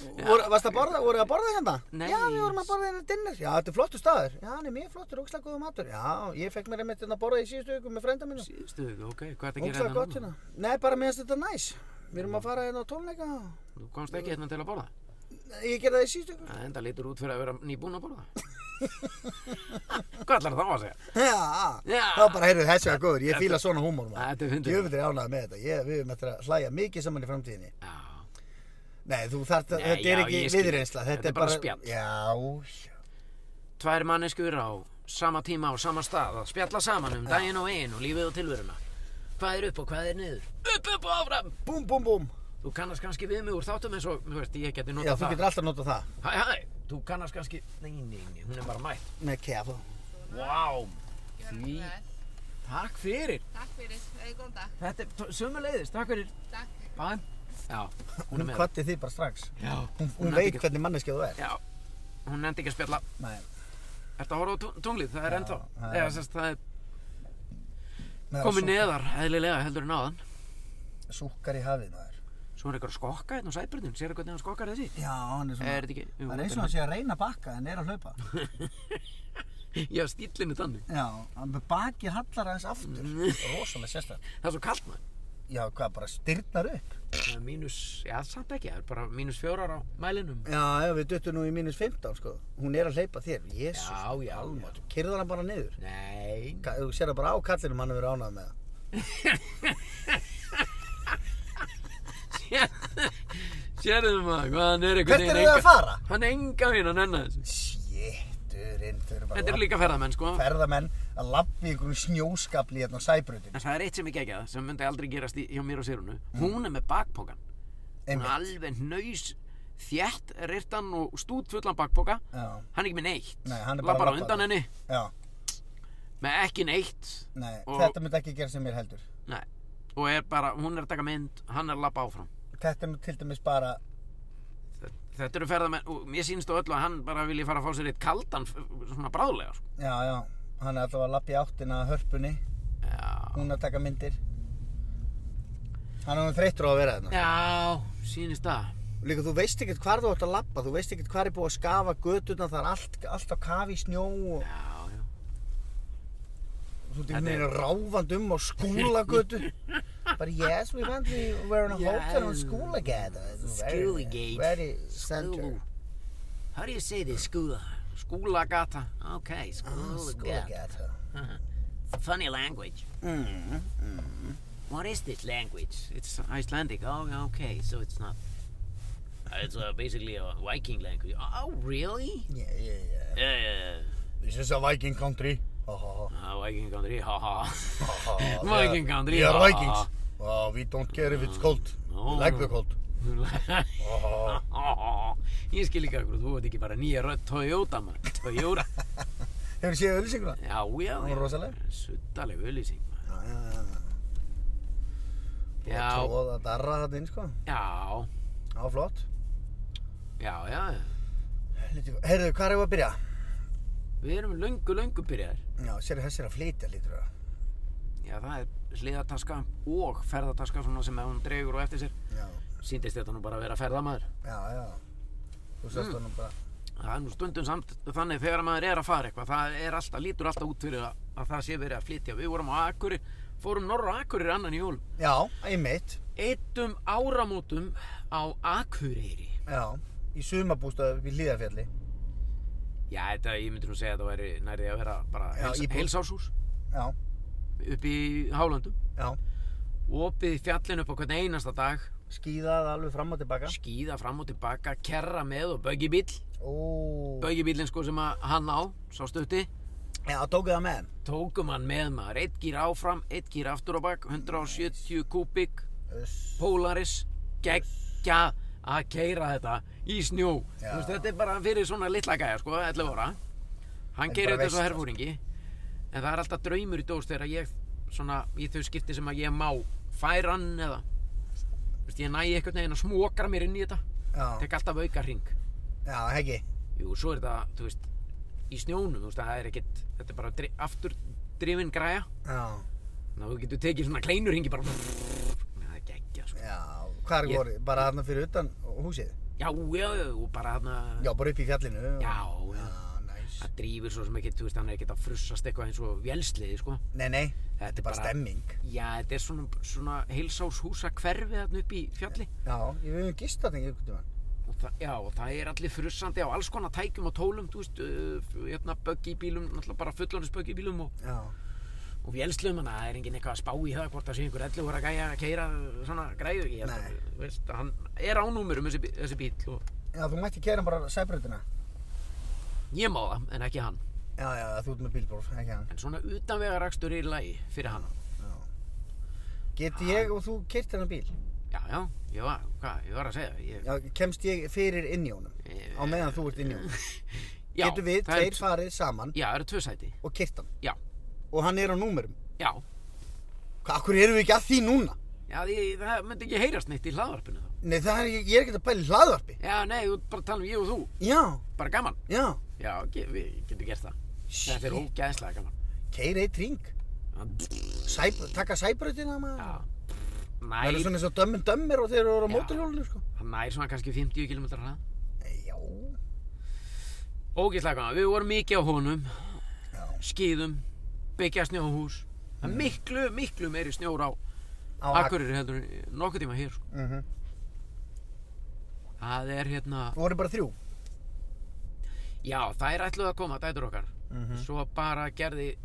Speaker 2: Voru, varst að borða, voru að borða hérna?
Speaker 1: Nei.
Speaker 2: Já, við vorum að borða hérna dinner. Já, þetta er flottur staður. Já, hann er mjög flottur, ógslag góðu matur. Já, ég fekk mér einmitt hérna að borða í síðustu viku með frænda mínu.
Speaker 1: Síðustu, viku, ok, hvað er að gera
Speaker 2: Ógslag
Speaker 1: þetta
Speaker 2: gott hérna. Nei, bara mér finnst þetta næs. Við erum að fara hérna á tónleika.
Speaker 1: Þú komst ekki hérna til að borða.
Speaker 2: Ég gerði það í síðustu viku.
Speaker 1: Það enda lítur út fyrir að vera nýbúin að borða. hvað ætlar þá að segja?
Speaker 2: Já,
Speaker 1: Já.
Speaker 2: þá bara heyrðu þessu að góður. Ég fíla svona húmór maður.
Speaker 1: Þetta er hundið.
Speaker 2: Djöfull er ánægð með þetta. Ég, við erum eftir að hlæja mikið saman í framtíðinni.
Speaker 1: Já,
Speaker 2: Nei, þú þarft að,
Speaker 1: Nei,
Speaker 2: þetta er
Speaker 1: já,
Speaker 2: ekki
Speaker 1: ég skil.
Speaker 2: viðreynsla. Þetta er bara
Speaker 1: spjall.
Speaker 2: Já,
Speaker 1: tvær manneskur á sama tíma á sama stað að spjalla saman um daginn og einn og lífið og tilveruna. Hvað er upp og hvað er niður? Upp, upp og áfram!
Speaker 2: búm, búm, búm.
Speaker 1: þú kannast kannski við mig úr þáttum eins og, þú veist, ég geti
Speaker 2: Já,
Speaker 1: notað
Speaker 2: þú
Speaker 1: það.
Speaker 2: getur alltaf notað það.
Speaker 1: Hæ, hæ, þú kannast kannski, nei, nei, nei, hún er bara mætt.
Speaker 2: Með kefa.
Speaker 1: Vá,
Speaker 3: Gjörðu
Speaker 1: Því-
Speaker 3: svo vel.
Speaker 1: takk fyrir.
Speaker 3: Takk fyrir, auðvitað góðan dag.
Speaker 1: Þetta er sömuleiðis, takk fyrir. Um
Speaker 3: Takk.
Speaker 1: Bæn. Já, hún er
Speaker 2: Hún
Speaker 1: með.
Speaker 2: kvatti þig bara strax.
Speaker 1: Já,
Speaker 2: Hún, hún
Speaker 1: nefndi
Speaker 2: veit
Speaker 1: ekki-
Speaker 2: hvernig manneskja þú er.
Speaker 1: Já, hún nefndi ekki að spjalla.
Speaker 2: Nei.
Speaker 1: Ertu að horfa á tu- tunglið? Það er
Speaker 2: Já,
Speaker 1: ennþá.
Speaker 2: það er-
Speaker 1: Eða, sérst, það er
Speaker 2: meðan
Speaker 1: komið
Speaker 2: sú-
Speaker 1: neðar, eðlilega, heldur en áðan.
Speaker 2: Súkkar í hafið maður.
Speaker 1: Svo er eitthvað að skokka hérna á sæbjörnum. Sér hvernig hann skokkar þessi?
Speaker 2: Já, hann er svona.
Speaker 1: Er þetta ekki? Jú,
Speaker 2: það er eins
Speaker 1: þetta
Speaker 2: og hann sé að reyna að bakka en er að hlaupa.
Speaker 1: Já, stíllinn er þannig.
Speaker 2: Já, hann með bakið hallar aðeins aftur. Rósalega sérstaklega.
Speaker 1: Það er svo kallt maður.
Speaker 2: Já, hvað, bara styrnar upp.
Speaker 1: Það er mínus, já, samt ekki, það er bara mínus fjórar á mælinum.
Speaker 2: Já, já, við duttum nú í mínus 15, sko. Hún er að hleypa þér. Jésus.
Speaker 1: Já, já, já.
Speaker 2: almáttugur. Keyrðu hana bara niður.
Speaker 1: Nei.
Speaker 2: Ka- Þú sér það bara á kallinum hann hefur ánað með það.
Speaker 1: Sérðu maður, hvað hann er einhvern
Speaker 2: Hvert eru þið að fara?
Speaker 1: Hann er enga vinn að nenna þessu.
Speaker 2: Sjétturinn, þau eru bara
Speaker 1: Þetta eru líka ferðamenn, sko.
Speaker 2: ferðamenn að lappa í einhverjum snjóskafli hérna á sæbrutinu.
Speaker 1: En það er eitt sem ég gegja það, sem myndi aldrei gerast í, hjá mér og Sérunu. Hún er með bakpokan. Hún er
Speaker 2: Mm. Einmitt.
Speaker 1: alveg nöys, þjætt, rirtan og stút fullan bakpoka.
Speaker 2: Já,
Speaker 1: Hann er ekki með neitt.
Speaker 2: Nei, hann er bara
Speaker 1: Labbar á
Speaker 2: labbandi.
Speaker 1: undan henni,
Speaker 2: já,
Speaker 1: með ekki neitt.
Speaker 2: nei,
Speaker 1: Og-
Speaker 2: þetta myndi ekki gera sem mér heldur.
Speaker 1: Nei. Og er bara, hún er að taka mynd, hann er að labba áfram.
Speaker 2: Þetta er til dæmis bara,
Speaker 1: Þe- Þetta eru ferðamenn og mér sýnst á öllu að hann bara vilji fara að fá sér eitt kaldan f- svona bráðlega sko.
Speaker 2: já, já, hann er alltaf að lappa í áttina að hörpunni,
Speaker 1: Já,
Speaker 2: hún að taka myndir. Hann er nú þreyttur á að vera þarna.
Speaker 1: Já sýnist það
Speaker 2: Líka þú veist ekkert hvar þú átt að lappa, þú veist ekkert hvar er búið að skafa gödurna, það er allt, allt á kafi í snjó og
Speaker 1: Já, já
Speaker 2: þú ert
Speaker 1: Þetta
Speaker 2: einhvern
Speaker 1: er-
Speaker 2: veginn ráfand um á skúlagötu. Bara yes, we went, we were in a hotel on
Speaker 1: Yeah.
Speaker 2: Skúlagate.
Speaker 1: Skúlagate.
Speaker 2: Very center.
Speaker 1: Skú- How do you say this, skúla? Skúlagata Ok,
Speaker 2: Ah,
Speaker 1: skúlagata
Speaker 2: Skúlagate.
Speaker 1: Funny language
Speaker 2: Mm.
Speaker 1: What is this language? It's Icelandic Oh, okay, so it's not It's uh, basically a Viking language Oh, really?
Speaker 2: Yeah, yeah, yeah.
Speaker 1: Yeah, yeah,
Speaker 2: This is a Viking country. Ha, ha, ha,
Speaker 1: yeah Viking country, ha ha
Speaker 2: ha, ha.
Speaker 1: Viking country,
Speaker 2: We are
Speaker 1: ha, ha,
Speaker 2: Vikings.
Speaker 1: ha.
Speaker 2: Oh, we don't care if it's cold.
Speaker 1: No,
Speaker 2: we like the
Speaker 1: no.
Speaker 2: cold. Ha, ha, ha.
Speaker 1: Ég skil ekki akkur, þú veit ekki bara nýja rödd Toyota maður, Toyota
Speaker 2: Hefur séð öllisinguna?
Speaker 1: Já, já,
Speaker 2: Hún
Speaker 1: já,
Speaker 2: var rosaleg.
Speaker 1: Suttaleg auðlýsing maður.
Speaker 2: Já, já, já.
Speaker 1: Já,
Speaker 2: Tróða darra þetta inn, sko.
Speaker 1: já,
Speaker 2: Já, flott.
Speaker 1: já, já
Speaker 2: Lítið- Heyrðu, hvað er við að byrja?
Speaker 1: Við erum löngu, löngu byrjaðir
Speaker 2: Já, sér þess er að flytja, lítur það.
Speaker 1: Já, það er hliðataska og ferðataska svona sem hún dregur og eftir sér
Speaker 2: Já,
Speaker 1: Sýndist þetta nú bara að vera ferðamaður
Speaker 2: já, já. Þú sast
Speaker 1: Mm.
Speaker 2: mm. honum bara.
Speaker 1: Það er nú stundum samt þannig þegar maður er að fara eitthvað Það er alltaf, lítur alltaf út fyrir að, að það sé verið að flytja Við vorum á Akurri, fórum norra á Akurri annan jól
Speaker 2: Já, einmitt.
Speaker 1: Eittum áramótum á Akureyri
Speaker 2: Já, í sumabústað upp í Hlíðarfjalli.
Speaker 1: Já, þetta, ég myndi nú segja að það væri nærði að vera bara
Speaker 2: Já,
Speaker 1: heils,
Speaker 2: íbúð.
Speaker 1: heilsárshús
Speaker 2: Já,
Speaker 1: upp í Hálandum
Speaker 2: já.
Speaker 1: og opið í fjallinu upp á hvern einasta dag
Speaker 2: Skíðað alveg fram og tilbaka.
Speaker 1: skýða fram og tilbaka, kerra með og böggibíl
Speaker 2: Ó.
Speaker 1: böggibílinn sko sem að hann á, sá stutti
Speaker 2: Já, tókuð það með.
Speaker 1: tókum hann með maður, eitt gýr áfram eitt gýr aftur á bak, 170 kubik
Speaker 2: Uss.
Speaker 1: Polaris geggja að keira þetta í snjó
Speaker 2: Já.
Speaker 1: Þú veist, þetta er bara fyrir svona litla gæja sko, 11 ára hann
Speaker 2: Þetta
Speaker 1: gerir
Speaker 2: er bara
Speaker 1: þetta svo
Speaker 2: veisla,
Speaker 1: herfóringi en það er alltaf draumur í dós þegar ég svona í þau skipti sem að ég má færa hann eða Þú veist, ég næ einhvern veginn að smokra mér inn í þetta
Speaker 2: Já,
Speaker 1: tek alltaf auka hring
Speaker 2: já, heggi.
Speaker 1: jú, svo er þetta, þú veist í snjónum, þú veist, það er ekkit þetta er bara dri, aftur drifin græja
Speaker 2: Já,
Speaker 1: þannig að þú getur tekið svona kleinur hringi bara það er geggja sko
Speaker 2: já. Hvar
Speaker 1: Ég-
Speaker 2: voru? Bara þarna fyrir utan húsið?
Speaker 1: já, já, já, og bara þarna
Speaker 2: Já, bara upp í fjallinu. og-
Speaker 1: Já, já.
Speaker 2: Já, næs.
Speaker 1: Það drýfur svo sem ekki, þú veist, hann er ekkert að frussast eitthvað eins og vélsliði, sko.
Speaker 2: Nei, nei.
Speaker 1: Þetta
Speaker 2: Bara stemming.
Speaker 1: Já, þetta er svona, svona heilsáshúsa hverfið þarna upp í fjalli. Já.
Speaker 2: Já, ég við höfum gist þarna ekki ykkur tíma.
Speaker 1: Og það, já, og það er allir frussandi á alls konar tækjum og tólum, þú veist, uh, hérna böggi í bílum, náttúrulega bara fullónis böggi í bílum og,
Speaker 2: Já.
Speaker 1: og vélsliðum, þannig að það er enginn eitthvað að spá í það hvort það sé einhver 11 ára gæja að keira svona græðu. Ég held
Speaker 2: Nei.
Speaker 1: að, þú veist, hann er ánúmurum þessi, bí- þessi bíl og
Speaker 2: Já, þú mætti kæra bara sæbröndina.
Speaker 1: ég má það, en ekki hann.
Speaker 2: Já, já, þú ert með bílbólf, ekki hann.
Speaker 1: En svona utanvegarakstur er í lagi fyrir hann.
Speaker 2: Geti ég og þú kyrt hennar bíl?
Speaker 1: já, já, ég var, hvað, ég var að segja ég,
Speaker 2: Já, kemst ég fyrir inn í honum
Speaker 1: Eh,
Speaker 2: á meðan þú ert inn í honum
Speaker 1: já,
Speaker 2: getum við
Speaker 1: það eru
Speaker 2: tveir
Speaker 1: tv-
Speaker 2: farið saman
Speaker 1: Já, það eru tvö sæti
Speaker 2: og kert hann
Speaker 1: Já,
Speaker 2: og hann er á númerum
Speaker 1: já,
Speaker 2: hvað, akkur erum við ekki að því núna?
Speaker 1: já, því það myndi ekki heyrast neitt í hlaðvarpinu þá
Speaker 2: Nei, það er, ég, ég er ekkert að pæla í hlaðvarpi
Speaker 1: Já, nei, þú ert bara að tala um ég og þú,
Speaker 2: já,
Speaker 1: bara gaman
Speaker 2: já
Speaker 1: Já, ge við getum gert það Þetta er
Speaker 2: Shit.
Speaker 1: ógæðslega gaman
Speaker 2: Keyra eitt ring Sæb, taka sæbrautina maður
Speaker 1: Já,
Speaker 2: það eru
Speaker 1: nær,
Speaker 2: svona eins og dömmin dömmir og þeir eru á
Speaker 1: Já.
Speaker 2: mótorhjólinu sko
Speaker 1: hann nær svona kannski 50 km hrað
Speaker 2: Nei, já,
Speaker 1: Ógæðslega gaman, við vorum mikið á honum
Speaker 2: já Mm.
Speaker 1: skýðum, byggja snjóhús það er miklu, miklu meiri snjór á
Speaker 2: á
Speaker 1: Akureyri heldur en nokkuð tíma hér sko.
Speaker 2: mm -hmm.
Speaker 1: það er hérna,
Speaker 2: voru bara þrjú
Speaker 1: já það er ætluð að koma dætur okkar,
Speaker 2: mm
Speaker 1: svo bara gerði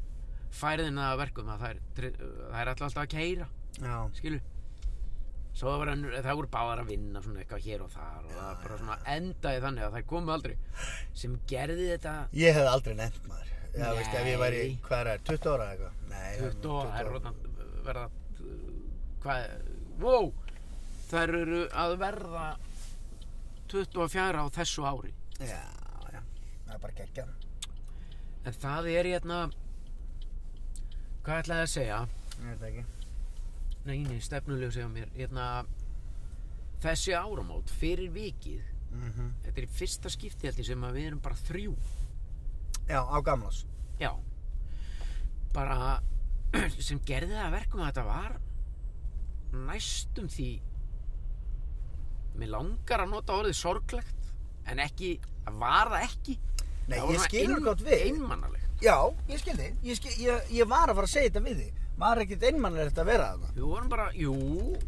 Speaker 1: færiðin að verkum að það er, það er alltaf að keira
Speaker 2: já,
Speaker 1: skilur svo var hann, það voru báðar að vinna svona eitthvað hér og þar og það bara svona endaði þannig að það komu aldrei sem gerði þetta
Speaker 2: ég hef aldrei nefnt maður já,
Speaker 1: Nei.
Speaker 2: veist, ef ég væri, hvað er það, 20 ára eða eitthvað Nei,
Speaker 1: 20 og það er rotan- verða hvað, wow þær eru að verða 24 á þessu ári
Speaker 2: já, já, það er bara geggjað
Speaker 1: en það er hérna hvað ætlaði að segja
Speaker 2: ég veit það ekki
Speaker 1: nei, nei, stefnulega segja mér hérna, þessi áramót fyrir vikið
Speaker 2: mm
Speaker 1: þetta er í fyrsta skipti held ég sem að við erum bara þrjú
Speaker 2: já, á gamlás
Speaker 1: já bara sem gerði það að verkum að þetta var næstum því mér langar að nota orðið sorglegt en ekki, það var það ekki það
Speaker 2: Nei,
Speaker 1: var
Speaker 2: ég
Speaker 1: svona
Speaker 2: skilur
Speaker 1: ein-
Speaker 2: gott við.
Speaker 1: einmanalegt,
Speaker 2: já, ég skil þig, ég, skil, ég, ég var að fara að segja þetta við þig maður er ekkert einmannlegt að vera þarna
Speaker 1: við vorum bara, jú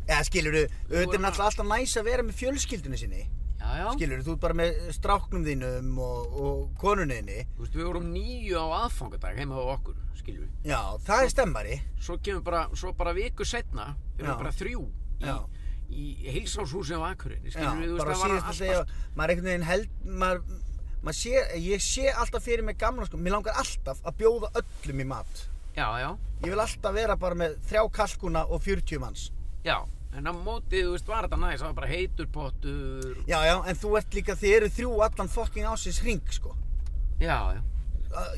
Speaker 2: eða skilur þú, auðvitað er
Speaker 1: vorum að-
Speaker 2: náttúrulega alltaf næs að vera með fjölskyldinu sinni
Speaker 1: já, já,
Speaker 2: skilur þú, ert bara með stráknum þínum og, og konunniðinni
Speaker 1: þú veist, við vorum nýju á aðfangadag heima á okkur, skilur við
Speaker 2: já, það er stemmari
Speaker 1: svo kemur bara, svo bara viku setna við
Speaker 2: Já.
Speaker 1: erum bara þrjú í,
Speaker 2: Já.
Speaker 1: í heilsáshúsi á Akureyri
Speaker 2: Já,
Speaker 1: skilur við, þú
Speaker 2: bara
Speaker 1: veist, það var
Speaker 2: síðast að segja maður einhvern veginn held maður, maður sé, ég sé alltaf fyrir mig gamla sko, mér langar alltaf að bjóða öllum í mat
Speaker 1: já, já,
Speaker 2: ég vil alltaf vera bara með þrjá kalkuna og 40 manns
Speaker 1: já en á mótið, þú veist, var þetta næst það var bara heitur pottur
Speaker 2: já já, en þú ert líka, þið eru þrjú allan fokking ásins ring sko
Speaker 1: Já, já.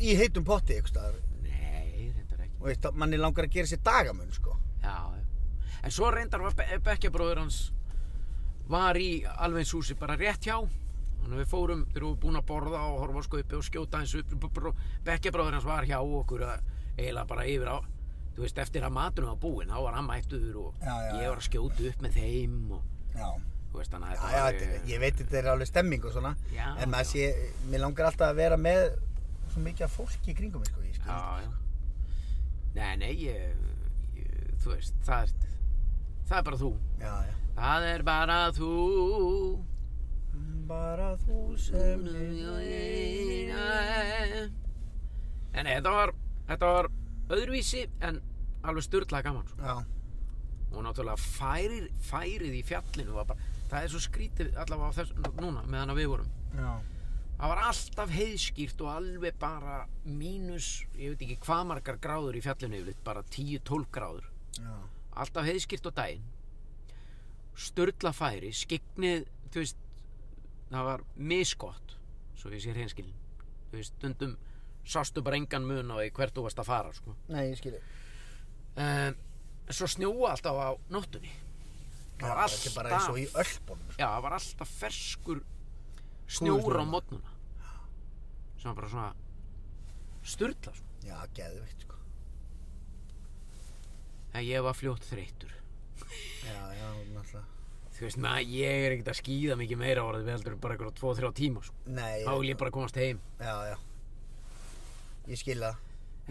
Speaker 2: í heitum potti ykkur staðar
Speaker 1: Nei, reyndar ekki.
Speaker 2: og veist, að manni langar að gera sér dagamun sko
Speaker 1: Já, já. En svo reyndar var Be bekkjabróður hans var í alveg eins húsi bara rétt hjá. Þannig að við fórum, þegar við vorum búin að borða og horfa á skaupi og skjóta eins upp. bró- Bekkjabróður hans var hjá okkur að eiginlega bara yfir á, þú veist, eftir að matunum var búinn, þá var hann mættur og
Speaker 2: Já, já,
Speaker 1: ég
Speaker 2: já.
Speaker 1: var að skjóta upp með þeim og,
Speaker 2: já,
Speaker 1: þú veist, þannig að
Speaker 2: já,
Speaker 1: þetta
Speaker 2: já
Speaker 1: var... eh,
Speaker 2: þetta, ég veit þetta er alveg stemming og svona
Speaker 1: Já,
Speaker 2: en maður
Speaker 1: já.
Speaker 2: sé, mér langar alltaf að vera með svo mikið af fólki í kringum mig sko, ég skil
Speaker 1: Já, já. Nei, nei, ég, ég, þú veist, það er, það er bara þú.
Speaker 2: já, já
Speaker 1: Það er bara þú
Speaker 2: bara þú sem lifir.
Speaker 1: En þetta var, þetta var öðruvísi en alveg styrlað gaman sko.
Speaker 2: já,
Speaker 1: og náttúrulega færir, færið í fjallinu var bara, það er svo skrítið allavega á þess, núna meðan að við vorum
Speaker 2: já
Speaker 1: það var alltaf heiðskýrt og alveg bara mínus ég veit ekki hvað margar gráður í fjallinu yfirleitt, bara 10-12 gráður
Speaker 2: Já,
Speaker 1: alltaf heiðskýrt á daginn störla færi, skiknið þú veist, það var misgott, svo ég sé hreinskilin þú veist, stundum sástu bara engan mun á því hvert þú varst að fara sko.
Speaker 2: nei, ég skilji
Speaker 1: um, svo snjóa alltaf á nóttunni
Speaker 2: Já,
Speaker 1: það var
Speaker 2: þetta er bara eins og
Speaker 1: alltaf
Speaker 2: í öllbónum
Speaker 1: já, það var alltaf ferskur snjór á mótnuna sem var bara svona störla sko.
Speaker 2: Já, geðvikt sko
Speaker 1: en ég var fljótt þreyttur
Speaker 2: Já, já, náttúrulega
Speaker 1: þú veist, maður, ég er ekkert að skýða mikið meira orðið við heldur en bara eitthvað 2-3 tíma sko.
Speaker 2: Nei,
Speaker 1: Þá vil ég bara komast heim.
Speaker 2: já, já Ég skil það,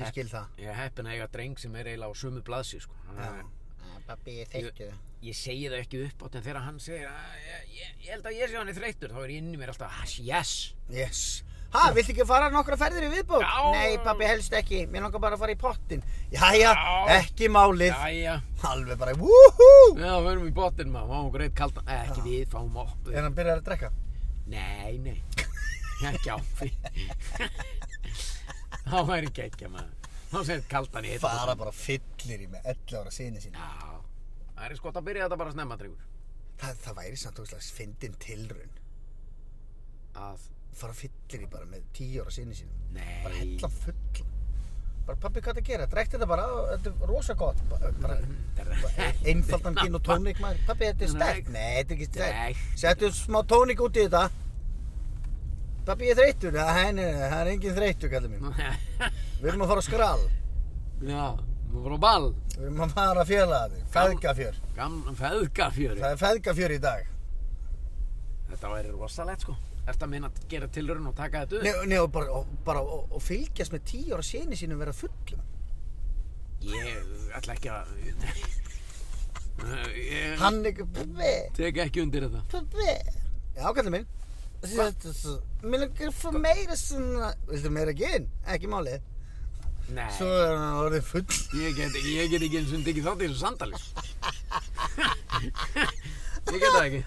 Speaker 2: ég skil það
Speaker 1: Ég er heppin að eiga dreng sem er eiginlega á sömu blaðsi, sko.
Speaker 2: Já, Pappi, ég
Speaker 1: þekkti Ég segi það ekki upp átt en þegar hann segir að ég, ég, ég held að ég sé hann er þreyttur, þá er ég inn í mér alltaf, "Ah, yes.
Speaker 2: Yes Ha, viltu ekki fara nokkra ferðir í viðbók?
Speaker 1: Já.
Speaker 2: Nei, pappi, helst ekki, mér langar bara að fara í pottin Jæja,
Speaker 1: Já.
Speaker 2: ekki málið
Speaker 1: Jæja,
Speaker 2: Alveg bara, wúhú
Speaker 1: já, förum í botinn maður, fáum okkur eitt kaldan, eh, ekki
Speaker 2: Já.
Speaker 1: við, fáum oppu.
Speaker 2: En hann byrjar að drekka
Speaker 1: Nei, nei, ekki áfri. þá væri ekki ekki maður, þá segir kaldan í eitt.
Speaker 2: Fara bara fyllir í með 11 ára sinni sína
Speaker 1: Já, það er skott að sko, byrja þetta bara snemma, drengur.
Speaker 2: það, það væri samt og slags fyndin tilraun
Speaker 1: að
Speaker 2: fara fyllir í bara með tíu ára sinni sínum bara
Speaker 1: Nei
Speaker 2: hella full bara pappi hvað það gera, drekti þetta bara á, þetta er rosa gott bara, bara, bara einfaldan gin og tónik maður pappi þetta er sterk, nei þetta er ekki sterk
Speaker 1: Sterkt.
Speaker 2: settu smá tónik út í þetta pappi ég er þreyttur nei, nei, nei, það er engin þreyttur kallar mín við erum að fara á skrall
Speaker 1: Já, nú voru á ball
Speaker 2: við erum að fara að fjöla þig, feðgafjör
Speaker 1: Gamla feðgafjöri
Speaker 2: það er feðgafjör í dag
Speaker 1: Þetta væri rosalegt sko Ertu að minna að gera tilraun og taka þetta upp?
Speaker 2: nei, nei, og bara, og, bara og, og fylgjast með tíu ára sinni sínum vera fullum
Speaker 1: Ég ætla ekki að Ég
Speaker 2: hann ekki, pabbi
Speaker 1: tek ekki undir þetta
Speaker 2: Pabbi Já, kallar minn Mér langar að fá meira svona Viltu meira gin? Ekki máli
Speaker 1: Nei
Speaker 2: Svo er hann orðið full
Speaker 1: Ég get, ég get ekki eins og tekið þátt í þessu samtali sko. Ég get það ekki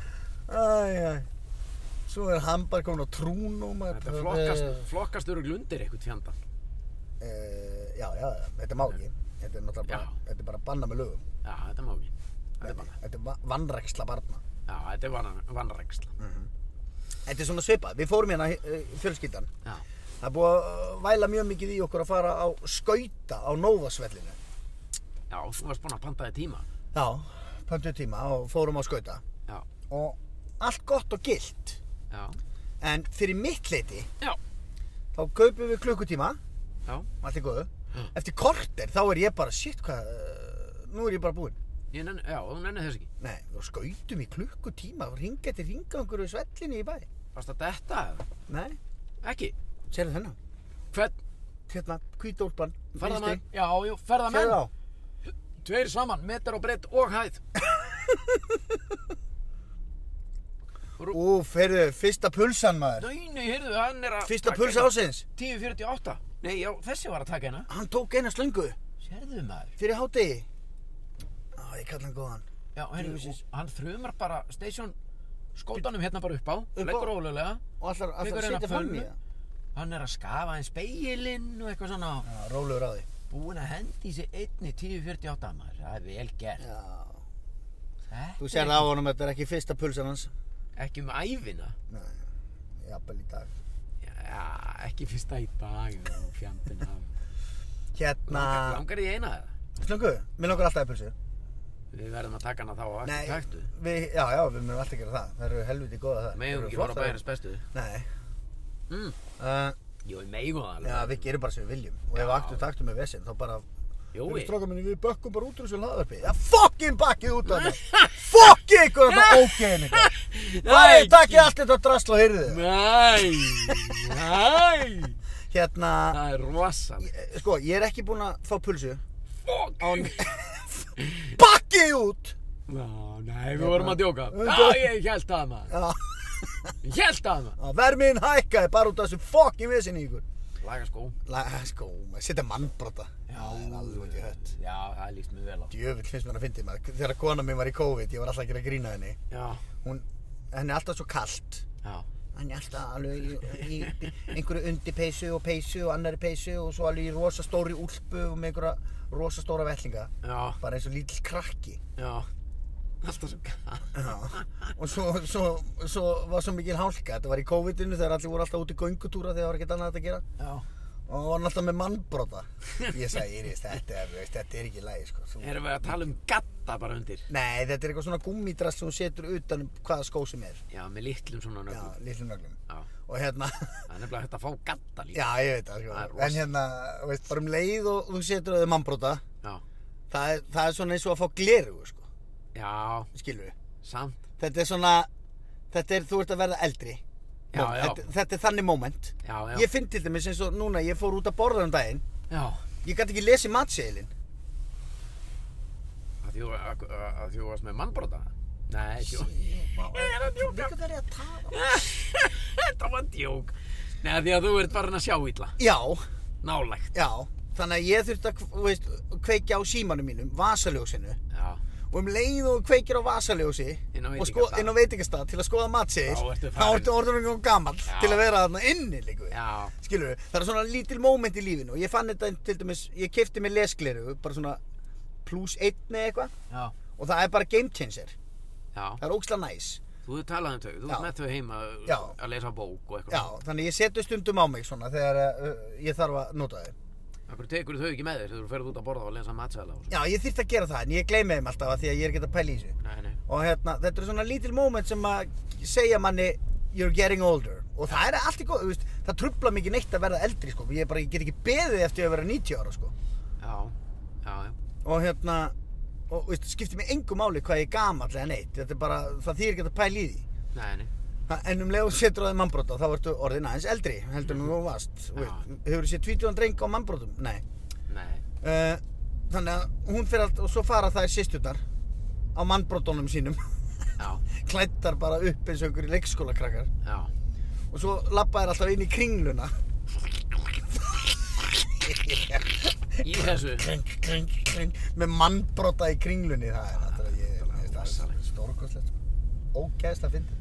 Speaker 2: Æj, æj Svo er hann bara komin á trún og maður
Speaker 1: Þetta flokkast, flokkast eru glundir eitthvað fjanda
Speaker 2: e, Já, já, já, þetta má ekki Þetta er náttúrulega bara,
Speaker 1: Já.
Speaker 2: þetta er bara að banna með lögum
Speaker 1: Já, þetta má ekki Þetta er bara
Speaker 2: Þetta er va- vanræksla barna
Speaker 1: Já, þetta er vann, vannræksla
Speaker 2: Mhm. Þetta er svona svipað, við fórum hérna eh, fjölskyldan
Speaker 1: Já,
Speaker 2: Það er búið að eh, væla mjög mikið í okkur að fara á skauta á Nóvasvellinu
Speaker 1: já, þú varst búin að panta þig tíma
Speaker 2: Já, pöntu tíma og fórum á skauta
Speaker 1: Já,
Speaker 2: og allt gott og gilt
Speaker 1: já,
Speaker 2: en fyrir mitt leiti
Speaker 1: já,
Speaker 2: þá kaupum við klukkutíma
Speaker 1: já Mm.
Speaker 2: allt er góðu eftir korter þá er ég bara shit hvað uh, nú er ég bara búinn
Speaker 1: Ég nenni, já, þú nenni þess ekki
Speaker 2: nei þá skautum í klukkutíma og ringa eftir ringa okkur við svellinni í bæ
Speaker 1: Varst að detta eða?
Speaker 2: nei
Speaker 1: Ekki
Speaker 2: sérðu þennan
Speaker 1: Hvern,
Speaker 2: hérna hvítólpan
Speaker 1: ferðamenn Já, jú, ferðamenn
Speaker 2: sérðu á
Speaker 1: Tveir saman, metar og breytt og hæð
Speaker 2: ú ferðu fyrsta pulsan maður
Speaker 1: Nei, nei, heyrðu, hann er að
Speaker 2: fyrsta
Speaker 1: taka
Speaker 2: pulsa
Speaker 1: hérna.
Speaker 2: ásins
Speaker 1: 10.48 Nei, já, þessi var að taka hérna
Speaker 2: hann tók eina slöngu
Speaker 1: Sérðu maður
Speaker 2: fyrir hádegi á ég kalla hann góðan
Speaker 1: Já, heyrðu,
Speaker 2: Jú,
Speaker 1: og hann þrumar bara station skótanum hérna bara upp á
Speaker 2: á.
Speaker 1: Leggur ólega
Speaker 2: og allar, allar
Speaker 1: Tekur
Speaker 2: að
Speaker 1: eina
Speaker 2: setja fram í
Speaker 1: pönnu.
Speaker 2: það
Speaker 1: Hann er að skafa einn speilinn og eitthvað svona
Speaker 2: Já, rólegur á því
Speaker 1: Búinn að hendi í sig einni 10.48 maður Það er vel gert
Speaker 2: já
Speaker 1: Þetta
Speaker 2: Þú
Speaker 1: er
Speaker 2: sér það á honum, þetta er ekki fyrsta pulsan hans.
Speaker 1: Ekki um æfina
Speaker 2: Nei, jafnvel í dag.
Speaker 1: Já, ekki fyrsta í dag nú, Fjandinn af
Speaker 2: Hérna,
Speaker 1: Langar- Langar í eina það
Speaker 2: slöngu, mér langar alltaf í pulsu.
Speaker 1: Við verðum að taka hana þá og ekki taktu
Speaker 2: við, já, já, við munum alltaf gera það. Það eru helviti góða það.
Speaker 1: Megum
Speaker 2: Þær eru
Speaker 1: ekki fara á
Speaker 2: flottar.
Speaker 1: bæjarins bestu
Speaker 2: Nei,
Speaker 1: mm.
Speaker 2: uh,
Speaker 1: Jó, við megum það
Speaker 2: já, við gerum bara sem við viljum. Og ef
Speaker 1: Já.
Speaker 2: aktu taktum með vesinn, þá bara...
Speaker 1: Jói,
Speaker 2: stróka minni, við bökkum bara út úr þessu laðarpi. Já, fokkin bakkið út af þetta. Fokkin ykkur þetta ógeðin ykkur. Það er takkið allt þetta drasl og heyrðu þið.
Speaker 1: Nei, nei
Speaker 2: Hérna,
Speaker 1: Það er rosan
Speaker 2: ég- sko, ég er ekki búinn að fá pulsu.
Speaker 1: Fuck
Speaker 2: Án... bakkið út!
Speaker 1: Ná, Nei, við vorum að djóka Já, ég held að maður
Speaker 2: Já.
Speaker 1: Ég held að maður
Speaker 2: að vermiðin hækkaði bara út af þessu fokkin vissinni ykkur
Speaker 1: Laga skó
Speaker 2: Læ, sko, maður setja mannbrota það er alveg út í hött
Speaker 1: Já, það líst mér vel á
Speaker 2: djöfull finnst mér að fyndi maður þegar kona mín var í COVID, ég var alltaf að gera grína henni
Speaker 1: Já,
Speaker 2: hún, henni er alltaf svo kalt
Speaker 1: já
Speaker 2: henni er alltaf alveg í, í einhverju undirpeysu og peysu og annari peysu og svo alveg í rosa stóri úlpu og með einhverja rosa stóra vellinga
Speaker 1: Já,
Speaker 2: bara eins og lítill krakki
Speaker 1: já Alltaf svo gæt
Speaker 2: Já. og svo, svo, svo var svo mikil hálka þetta var í COVID-inu þegar allir voru alltaf út í göngutúra þegar það var ekkert annað að gera
Speaker 1: Já
Speaker 2: og hann var náttúrulega með mannbrota ég sagði Íris, þetta er, veist, þetta er ekki lægi sko. þú...
Speaker 1: Erum við að tala um gatta bara undir
Speaker 2: nei, þetta er eitthvað svona gummidrass sem hún setur utan um hvaða skó sem er
Speaker 1: Já, með litlum svona
Speaker 2: já,
Speaker 1: nöfnum
Speaker 2: litlum nöglum
Speaker 1: Já
Speaker 2: og hérna,
Speaker 1: Það er nefnilega hægt að fá gatta líka
Speaker 2: já ég veit það sko.
Speaker 1: Það er rosa.
Speaker 2: en hérna, þú veist, bara um leið og þú setur að þau mannbrota
Speaker 1: Já
Speaker 2: það er, það er svona eins og að fá gleru sko.
Speaker 1: Já,
Speaker 2: skilur við,
Speaker 1: samt
Speaker 2: þetta er svona þetta er, þú ert að verða eldri
Speaker 1: Já,
Speaker 2: Moment.
Speaker 1: já.
Speaker 2: Þetta, þetta er þannig moment
Speaker 1: Já, já
Speaker 2: ég finn til dæmis eins og núna, ég fór út að borða um daginn
Speaker 1: Já
Speaker 2: ég gæti ekki lesið matseðilinn
Speaker 1: Að þú, að, að þú varst með mannbrota Nei, þú Ég er að djóka
Speaker 2: Líka verið að tala
Speaker 1: Þetta var djók Nei, því að þú ert farin að sjá illa
Speaker 2: Já,
Speaker 1: Nálægt
Speaker 2: já Þannig að ég þurfti að þú veist, kveikja á símanum mínum, vasaljósinu
Speaker 1: Já
Speaker 2: og um leið og þú kveikir á vasaljósi
Speaker 1: Inn á
Speaker 2: og sko-
Speaker 1: veitingastað.
Speaker 2: inn á veitingastað til að skoða matseðil
Speaker 1: Þá ertu
Speaker 2: þá
Speaker 1: farinn.
Speaker 2: ertu orðunum og gamall
Speaker 1: Já.
Speaker 2: til að vera þarna inni líku
Speaker 1: Já
Speaker 2: skilur við, það er svona lítil moment í lífinu og ég fann þetta til dæmis, ég kefti mér lesgleru bara svona plus einn eða eitthvað
Speaker 1: Já
Speaker 2: og það er bara game changer
Speaker 1: Já,
Speaker 2: það er óksla næs
Speaker 1: þú hefur talað um þau, þú
Speaker 2: Já.
Speaker 1: ert með þau heima uh,
Speaker 2: Já.
Speaker 1: að lesa bók og
Speaker 2: já,
Speaker 1: eitthvað.
Speaker 2: þannig ég setu stundum á mig svona þegar uh, ég þarf að nota þau
Speaker 1: Akkur tekur þau ekki með þér þegar þú ferð út að borða og lesa matsæla og svo.
Speaker 2: já, ég þyrfti að gera það en ég gleymi þeim alltaf af því að ég er ekki að pæla í þessu
Speaker 1: Nei, nei.
Speaker 2: og hérna, þetta er svona lítil moment sem að segja manni you're getting older og það er allt í góð, þú veist, það trubla mikið neitt að verða eldri sko, ég, bara, ég get ekki beðið eftir að vera 90 ára sko
Speaker 1: Já, já, já.
Speaker 2: og hérna, og þú veist, skiptir mig engu máli hvað ég er gamall eða neitt þetta er bara, það þýr ekki að pæla í því
Speaker 1: Nei, nei.
Speaker 2: Ha, en um leið og þú setur á þig mannbrota þá ertu orðin aðeins eldri heldur en þú varst, þú
Speaker 1: Já.
Speaker 2: veist, hefur þú séð tvítugan dreng á mannbrotum? Nei
Speaker 1: Nei.
Speaker 2: uh, þannig að hún fyrir allt og svo fara þær sýstjurnar á mannbrotunum sínum
Speaker 1: Já,
Speaker 2: klættar bara upp eins og einhverju leikskólakrakkar
Speaker 1: já.
Speaker 2: og svo lappa þær alltaf inn í kringluna
Speaker 1: Í þessu.
Speaker 2: kring, kring, kring með mannbrota í kringlunni það er náttúrulega ég-
Speaker 1: náttúrulega
Speaker 2: mér finnst það
Speaker 1: rosalegt.
Speaker 2: stórkostlegt sko. ógæðslega fyndið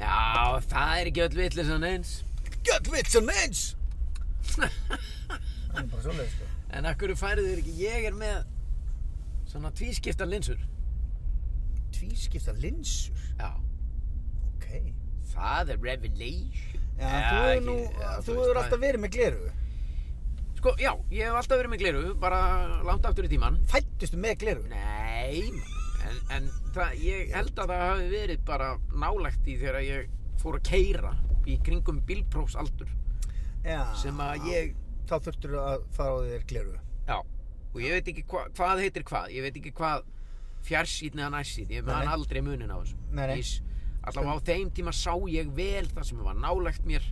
Speaker 1: Já, það er ekki öll vitleysan eins.
Speaker 2: get with some ends það er bara svoleið sko
Speaker 1: En akkur færið þér ekki, ég er með svona tvískipta linsur.
Speaker 2: tvískipta linsur
Speaker 1: Já.
Speaker 2: ok
Speaker 1: Það er revelation.
Speaker 2: já, þú hefur
Speaker 1: ekki-
Speaker 2: nú
Speaker 1: já,
Speaker 2: þú
Speaker 1: veist,
Speaker 2: hefur
Speaker 1: það-
Speaker 2: alltaf verið með gleru
Speaker 1: Sko, já, ég hef alltaf verið með gleru, bara langt aftur í tíman.
Speaker 2: fættustu með gleru
Speaker 1: Nei, en, en það, ég held að það hafi verið bara nálægt í þegar ég fór að keyra í kringum bílprófsaldur
Speaker 2: já
Speaker 1: sem að ég,
Speaker 2: þá þurftur að fara á þér gleru
Speaker 1: já, og ég veit ekki hva, hvað heitir hvað, ég veit ekki hvað fjarsýtni eða nærsýtni, ég
Speaker 2: Nei,
Speaker 1: man
Speaker 2: nei.
Speaker 1: aldrei munin á þessu.
Speaker 2: Nei, nei.
Speaker 1: Ég s- Allavega á þeim tíma sá ég vel það sem var nálægt mér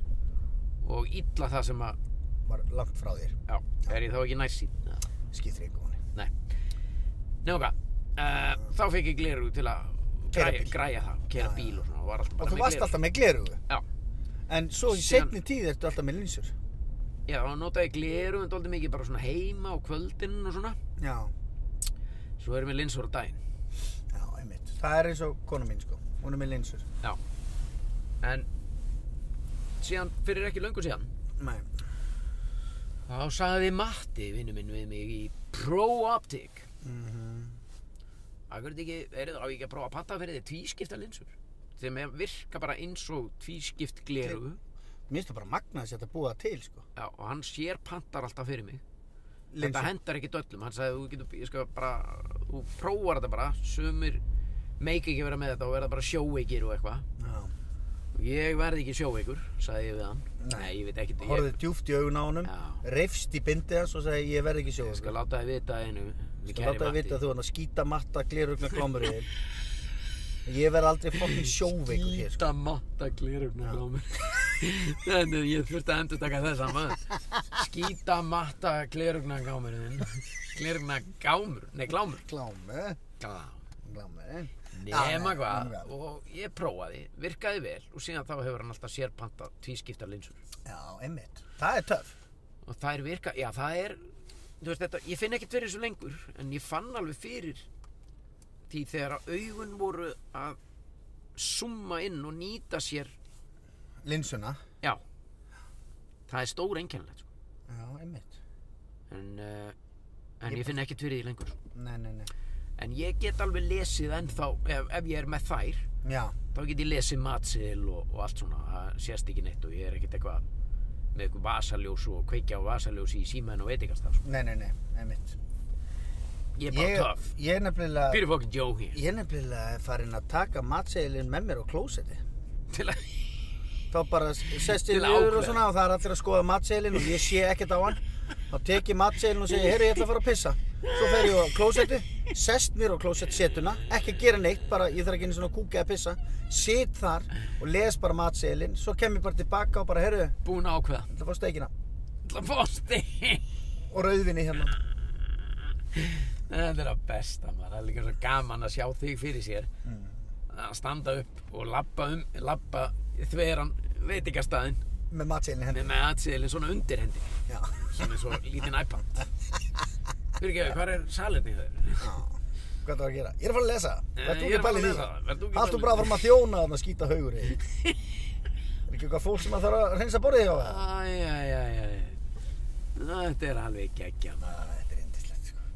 Speaker 1: og illa það sem að,
Speaker 2: var langt frá þér
Speaker 1: já, er ég þá ekki nærsýtni eða?
Speaker 2: skiptir ykkur manni
Speaker 1: Nei Nefnum hvað uh, Þá fekk ég gleru til að
Speaker 2: Keyra
Speaker 1: græja,
Speaker 2: bíl.
Speaker 1: græja það Kera
Speaker 2: Já, já.
Speaker 1: bíl og svona og var alltaf
Speaker 2: og
Speaker 1: bara
Speaker 2: þú varst alltaf með gleru
Speaker 1: Já.
Speaker 2: en svo í
Speaker 1: Síðan-
Speaker 2: setni tíð ertu alltaf með linsur
Speaker 1: Já, þá notaði ég gleru en dóldi mikið bara svona heima og kvöldin og svona
Speaker 2: já
Speaker 1: Svo erum við linsur á daginn
Speaker 2: Já, einmitt. Það er eins og kona mín sko. Hún er með linsur.
Speaker 1: Já En síðan, fyrir ekki löngu síðan
Speaker 2: Nei.
Speaker 1: Þá sagði Matti, vinnu minn við mig í ProOptic
Speaker 2: Mm
Speaker 1: Akkur þetta ekki, er það á ég ekki að prófa að panta fyrir þið tvískipta linsur Þeim virka bara eins og tvískipt gleru
Speaker 2: Mér finnst það bara magnað að þetta búa það til sko.
Speaker 1: Já, og hann sér pantar alltaf fyrir mig Þetta hendar ekki döllum, hann sagði þú getur, ég skal bara, þú prófar þetta bara, sumir meik ekki vera með þetta og verða bara sjóveikir og eitthvað.
Speaker 2: Já.
Speaker 1: Ég verði ekki sjóveikur, sagði ég við hann.
Speaker 2: Nei.
Speaker 1: Nei, ég veit ekki,
Speaker 2: Horfið
Speaker 1: ég,
Speaker 2: djúft í augun á honum.
Speaker 1: Já.
Speaker 2: Reifst í bindið hans og sagði ég verð ekki sjóður.
Speaker 1: ég skal láta þið vita einu, við
Speaker 2: Skal láta það vita að þú hann að skýta matta glirugna klámur í þér. Ég verð aldrei fokkin sjóveikur hér sko.
Speaker 1: Íta matta glirugna á mér. Þannig að ég þurfti að endur taka þessa maður. Skýta matta glirugna gámurinn. Glirugna gámur, nei glámur.
Speaker 2: Klámu.
Speaker 1: Glám.
Speaker 2: Klámu.
Speaker 1: Nema
Speaker 2: nei,
Speaker 1: hvað,
Speaker 2: nema hvað.
Speaker 1: og ég prófaði, virkaði vel og síðan þá hefur hann alltaf sérpantað tvískipta linsur
Speaker 2: Já, einmitt. Það er töff.
Speaker 1: og þær virka, já það er þú veist þetta, ég finn ekkert fyrir þessu lengur en ég fann alveg fyrir því þegar að augun voru að summa inn og nýta sér
Speaker 2: Linsuna.
Speaker 1: já, það er stór einkennilegt sko.
Speaker 2: Já, einmitt.
Speaker 1: en, uh, en ég finn ekkert fyrir því lengur
Speaker 2: Nei, nei, nei.
Speaker 1: en ég get alveg lesið ennþá ef, ef ég er með þær
Speaker 2: Já.
Speaker 1: þá get ég lesið matsil og, og allt svona, það sést ekki neitt og ég er ekkert eitthvað með eitthvað vasaljós og kveikja á vasaljós í símaðin og veit ekki alltaf sko.
Speaker 2: Nei, nei, nei. Einmitt.
Speaker 1: ég er bara
Speaker 2: Ég-
Speaker 1: töff,
Speaker 2: Ég er nefnilega...
Speaker 1: fyrir fokkin Joe hér
Speaker 2: Ég er nefnilega farin að taka matseðilinn með mér á klósetti.
Speaker 1: til að,
Speaker 2: Þá bara sest
Speaker 1: Til
Speaker 2: ég
Speaker 1: að
Speaker 2: niður og
Speaker 1: ákveða.
Speaker 2: svona og það er allir að skoða matseðilinn og ég sé ekkert á hann. Þá tek ég matseðilinn og segi, heyrðu ég ætla að fara að pissa. Svo fer ég á klósetti, sest mér á klósettsetuna, ekki að gera neitt, bara ég þarf ekki einu svona kúka að pissa. Sit þar og les bara matseðilinn, svo kem ég bara tilbaka og bara, heyrðu,
Speaker 1: búin að ákveða
Speaker 2: ætla að fá steikina
Speaker 1: til að fósti
Speaker 2: og rauðvinni hérna.
Speaker 1: þetta er að besta maður, það er líka svo gaman að sjá þig fyrir sér að standa upp og labba um labba þveran veitingastæðin
Speaker 2: Með matseðilinn hérna.
Speaker 1: með með matsilin svona undir hendi
Speaker 2: Já.
Speaker 1: svona eins og lítinn iPad fyrir ekki, hvað er salinni þeir?
Speaker 2: Já. Hvað það var að gera? Ég er að fara að lesa.
Speaker 1: Eh, ég
Speaker 2: Vertu ekki
Speaker 1: er
Speaker 2: að
Speaker 1: að fara að
Speaker 2: pæla í því?
Speaker 1: lesa það. Vertu ekki að
Speaker 2: Haltu
Speaker 1: pæla í
Speaker 2: bara
Speaker 1: því?
Speaker 2: áfram að skýta haugur í því? haugur í því? Er ekki eitthvað fólk sem að þarf að reynsa borðið hjá það?
Speaker 1: Æ, æ, æ, æ. Þetta er alveg geggja maður.
Speaker 2: Nei, þetta er indislegt sko.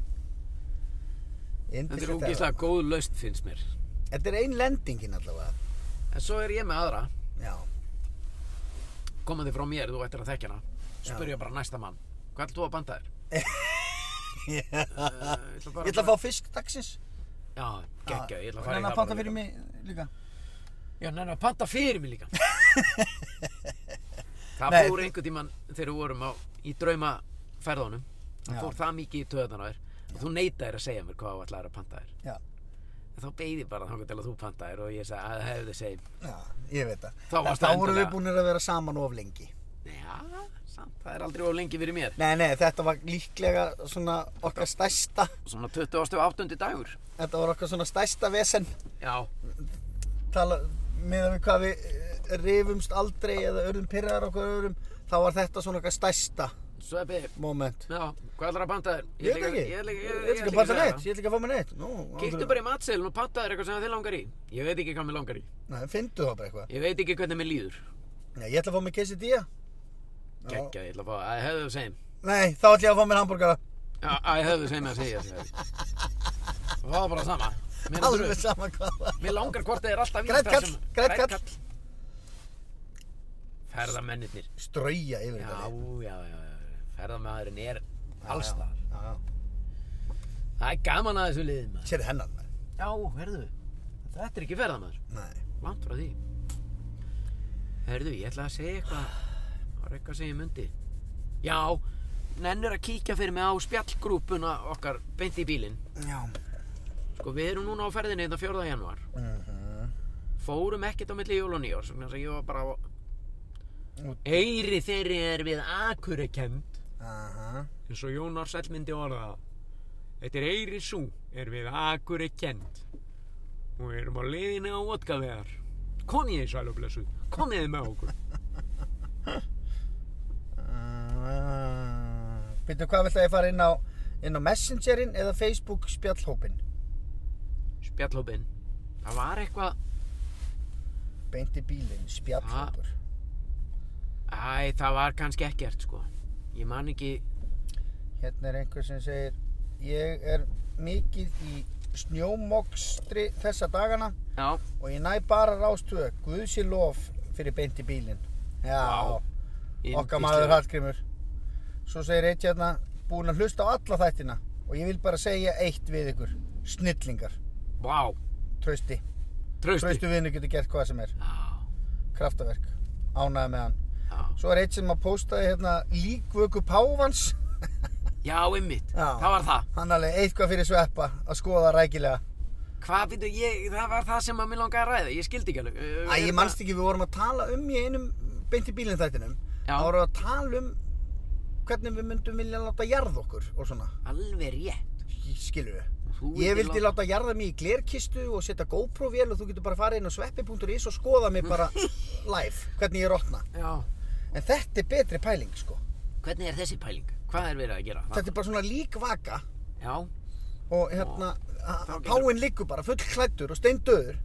Speaker 1: Þetta er ógeðslega góð laust finnst mér.
Speaker 2: Þetta er ein lendingin allavega.
Speaker 1: En svo er ég með aðra,
Speaker 2: Já.
Speaker 1: komandi frá mér, þú ættir að þekkja hana. Spurja bara næsta mann, hvað ætlum þú að banda þér?
Speaker 2: ég
Speaker 1: Uh, ég ætla bara
Speaker 2: ætla að fá fisk dagsins.
Speaker 1: Já, geggja, ég ætla að fara
Speaker 2: Nenna að panta fyrir mig líka.
Speaker 1: Já, nennan að panta fyrir mig líka. það
Speaker 2: Nei,
Speaker 1: fór
Speaker 2: þú-
Speaker 1: einhvern tímann þegar við vorum á, í draumaferðunum.
Speaker 2: Já.
Speaker 1: Það fór það mikið í töðan á þér. að Þú neytaðir að segja mér hvað þú ætlaðir að panta þér.
Speaker 2: Já.
Speaker 1: En Þá beigði bara þangar til að þú panta þér og ég sagði að það hefði þið segjum.
Speaker 2: Já, ég veit það.
Speaker 1: Þá varstu
Speaker 2: þá vorum við
Speaker 1: endilega-
Speaker 2: búinir að vera saman of lengi.
Speaker 1: Já, samt, það er aldrei of lengi fyrir mér.
Speaker 2: Nei, nei, þetta var líklega svona okkar stærsta,
Speaker 1: Svona 28. dagur.
Speaker 2: þetta var okkar svona stærsta vesen.
Speaker 1: Já,
Speaker 2: Tala, meðan við hvað við eh, rifumst aldrei eða örðum pyrraðar okkur öðrum, þá var þetta svona okkar stærsta
Speaker 1: sveppi.
Speaker 2: moment.
Speaker 1: Já, hvað ætlar að panta þér?
Speaker 2: Ég veit ekki,
Speaker 1: Ég ætla ekki,
Speaker 2: ég ætla ekki að panta neitt, ég ætla ekki að fá mér neitt. Nú,
Speaker 1: Kíktu bara í matselin og panta þér eitthvað sem þið langar í. Ég veit ekki hvað mér langar í.
Speaker 2: Nei, finndu það bara eitthvað.
Speaker 1: Ég veit ekki hvernig mér líður.
Speaker 2: Nei, ég ætla að fá mér quesadilla. Já.
Speaker 1: Gekkja, ég ætla að fá, að hefðu þú segjum.
Speaker 2: Nei, þá ætla ég að fá mér hambúrgara.
Speaker 1: Já, að hefðu þú segjum að segja þér. Það var bara sama. Mér, er
Speaker 2: Alveg
Speaker 1: drull.
Speaker 2: sama hvað það.
Speaker 1: mér langar hvort þið er alltaf
Speaker 2: Grænn
Speaker 1: það
Speaker 2: kall,
Speaker 1: sem-
Speaker 2: grænn
Speaker 1: grænn
Speaker 2: kall.
Speaker 1: Ferðamennirnir.
Speaker 2: Strauja yfir
Speaker 1: Já,
Speaker 2: þetta.
Speaker 1: já, já. já. Ferðamæðurinn er alls þar.
Speaker 2: Já, já.
Speaker 1: Það er gaman að þessu liðin maður.
Speaker 2: Sér hennan, nei.
Speaker 1: Já, herðu. Þetta er ekki ferðamæður.
Speaker 2: Nei.
Speaker 1: Langt frá því. Herðu, ég ætla að segja eitthvað. Það var eitthvað sem ég myndi. Já, nennir að kíkja fyrir mig á spjallgrúpuna okkar beint í bílinn.
Speaker 2: Já.
Speaker 1: Sko, við erum núna á ferðinni þetta 4. janúar.
Speaker 2: Mhm.
Speaker 1: Fórum ekkert á milli jól og nýjór, svona þess að ég var bara á...
Speaker 2: Út.
Speaker 1: Eyri þeirri er við akurekend,
Speaker 2: Aha.
Speaker 1: eins og Jónar Sæll myndi orða það. Þetta er Eyri sú, er við akurekend. Og við erum á leiðinni á vodkavegar. Konið sæl og blessuð, komið með okkur.
Speaker 2: Býttu, Eh, hvað vilt að ég fara inn á, inn á Messengerin eða Facebook spjallhópin?
Speaker 1: Spjallhópin. Það var eitthvað...
Speaker 2: Beint í bílinn, spjallhópur.
Speaker 1: Æ, það var kannski ekkert, sko. Ég man ekki...
Speaker 2: Hérna er einhver sem segir, ég er mikið í snjómokstri þessa dagana
Speaker 1: Já,
Speaker 2: og ég næ bara rástuða. Guð sé lof fyrir beint í bílinn. Já,
Speaker 1: Vá,
Speaker 2: okkar
Speaker 1: yndislega.
Speaker 2: maður Hallgrímur. Svo segir eitt hérna, búin að hlusta á alla þættina og ég vil bara segja eitt við ykkur. Snillingar,
Speaker 1: Vá,
Speaker 2: trausti.
Speaker 1: trausti.
Speaker 2: Traustu vinnur getur gert hvað sem er.
Speaker 1: Já,
Speaker 2: kraftaverk ánæði með hann
Speaker 1: já.
Speaker 2: svo er eitt sem að postaði hérna líkvöku Pávans
Speaker 1: Já, ymmit,
Speaker 2: Já.
Speaker 1: það var það.
Speaker 2: hann alveg eitthvað fyrir sveppa að skoða rækilega
Speaker 1: Hvað býtu, ég, það var það sem að mér langaði að ræða, ég skildi ekki alveg. Uh,
Speaker 2: Æ,
Speaker 1: er
Speaker 2: ég
Speaker 1: það-
Speaker 2: manst ekki við vorum að tala um í einum beint í bílinn þættinum
Speaker 1: Já.
Speaker 2: þá vorum við að tala um hvernig við myndum vilja láta jarð okkur og svona
Speaker 1: Alveg rétt.
Speaker 2: skilur við
Speaker 1: Þú
Speaker 2: Ég
Speaker 1: vildir
Speaker 2: vildi
Speaker 1: láta-
Speaker 2: láta jarða mig í glerkistu og setja GoPro-vél og þú getur bara farið inn á sveppi.is og skoða mig bara live, hvernig ég rotna.
Speaker 1: Já,
Speaker 2: En þetta er betri pæling, sko.
Speaker 1: hvernig er þessi pæling? Hvað er verið að gera?
Speaker 2: Þetta er bara svona líkvaka
Speaker 1: Já,
Speaker 2: og hérna
Speaker 1: Þá getur-
Speaker 2: páinn liggur bara full klættur og steindöður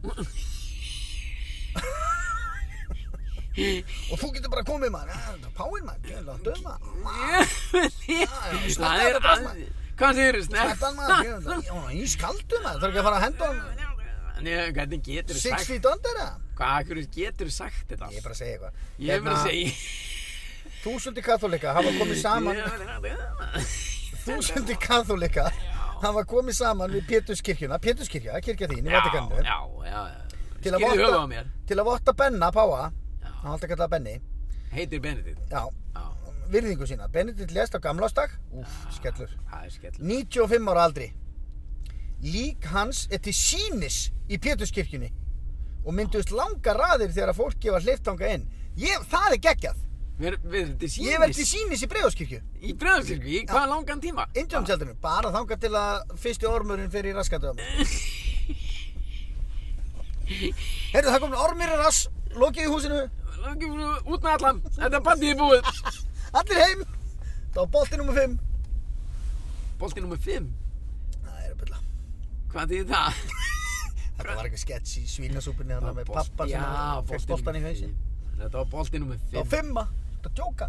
Speaker 2: og þú getur bara komið maður "Ah, páinn maður, döð maður
Speaker 1: það er að... Hvað segir þú, snert?
Speaker 2: Þetta maður, ískaldu maður, þarf ekki að fara að henda hann
Speaker 1: Nei, hvernig getur þú
Speaker 2: Six
Speaker 1: sagt?
Speaker 2: feet under eða?
Speaker 1: Hvað, hvernig getur þú sagt þetta?
Speaker 2: Ég er bara að segja eitthvað
Speaker 1: Ég er bara að segja...
Speaker 2: Þúsundi katholika hafa komið saman Þúsundi katholika hafa komið saman við Péturskirkjuna Péturskirkja, kirkja þín í Vatikaninu
Speaker 1: Já, já, já.
Speaker 2: til að,
Speaker 1: Skilði höfuð á
Speaker 2: votta,
Speaker 1: mér.
Speaker 2: til að votta Benna Páa
Speaker 1: Já.
Speaker 2: hann haldi að kalla það Benni
Speaker 1: Heitir Benedikt.
Speaker 2: já,
Speaker 1: Já,
Speaker 2: virðingu sína, Benedikt lést á gamlástag úf, skellur
Speaker 1: það er skell.
Speaker 2: 95 ára aldri lík hans er til sínis í Péturskirkjunni og mynduðust langa raðir þegar að fólki var hleyft þangað inn ég, það er geggjað,
Speaker 1: Við við erum til
Speaker 2: ég verð til
Speaker 1: sínis.
Speaker 2: sínis í Breiðaskirkju
Speaker 1: Í bregðarkirkju, í hvað langan tíma?
Speaker 2: Indjómsjaldurinn, bara þangað til að fyrsti ormurinn fer í raskatöðum heyrðu það komin ormur í rass lokið í húsinu
Speaker 1: Langi frú, út með allan, þetta er bandið í búið.
Speaker 2: Allir heim Það var bolti nummer 5
Speaker 1: Bolti nummer 5,
Speaker 2: Það er að byrla
Speaker 1: hvað þýðir það?
Speaker 2: Þetta var eitthvað sketch í svínasúpunni Þannig með
Speaker 1: Bolti-
Speaker 2: pappa sem
Speaker 1: Já,
Speaker 2: fekk
Speaker 1: bolti
Speaker 2: boltan í
Speaker 1: númer
Speaker 2: hausin
Speaker 1: fimm. Þetta var bolti nummer
Speaker 2: Það
Speaker 1: 5.
Speaker 2: var 5 Þetta djóka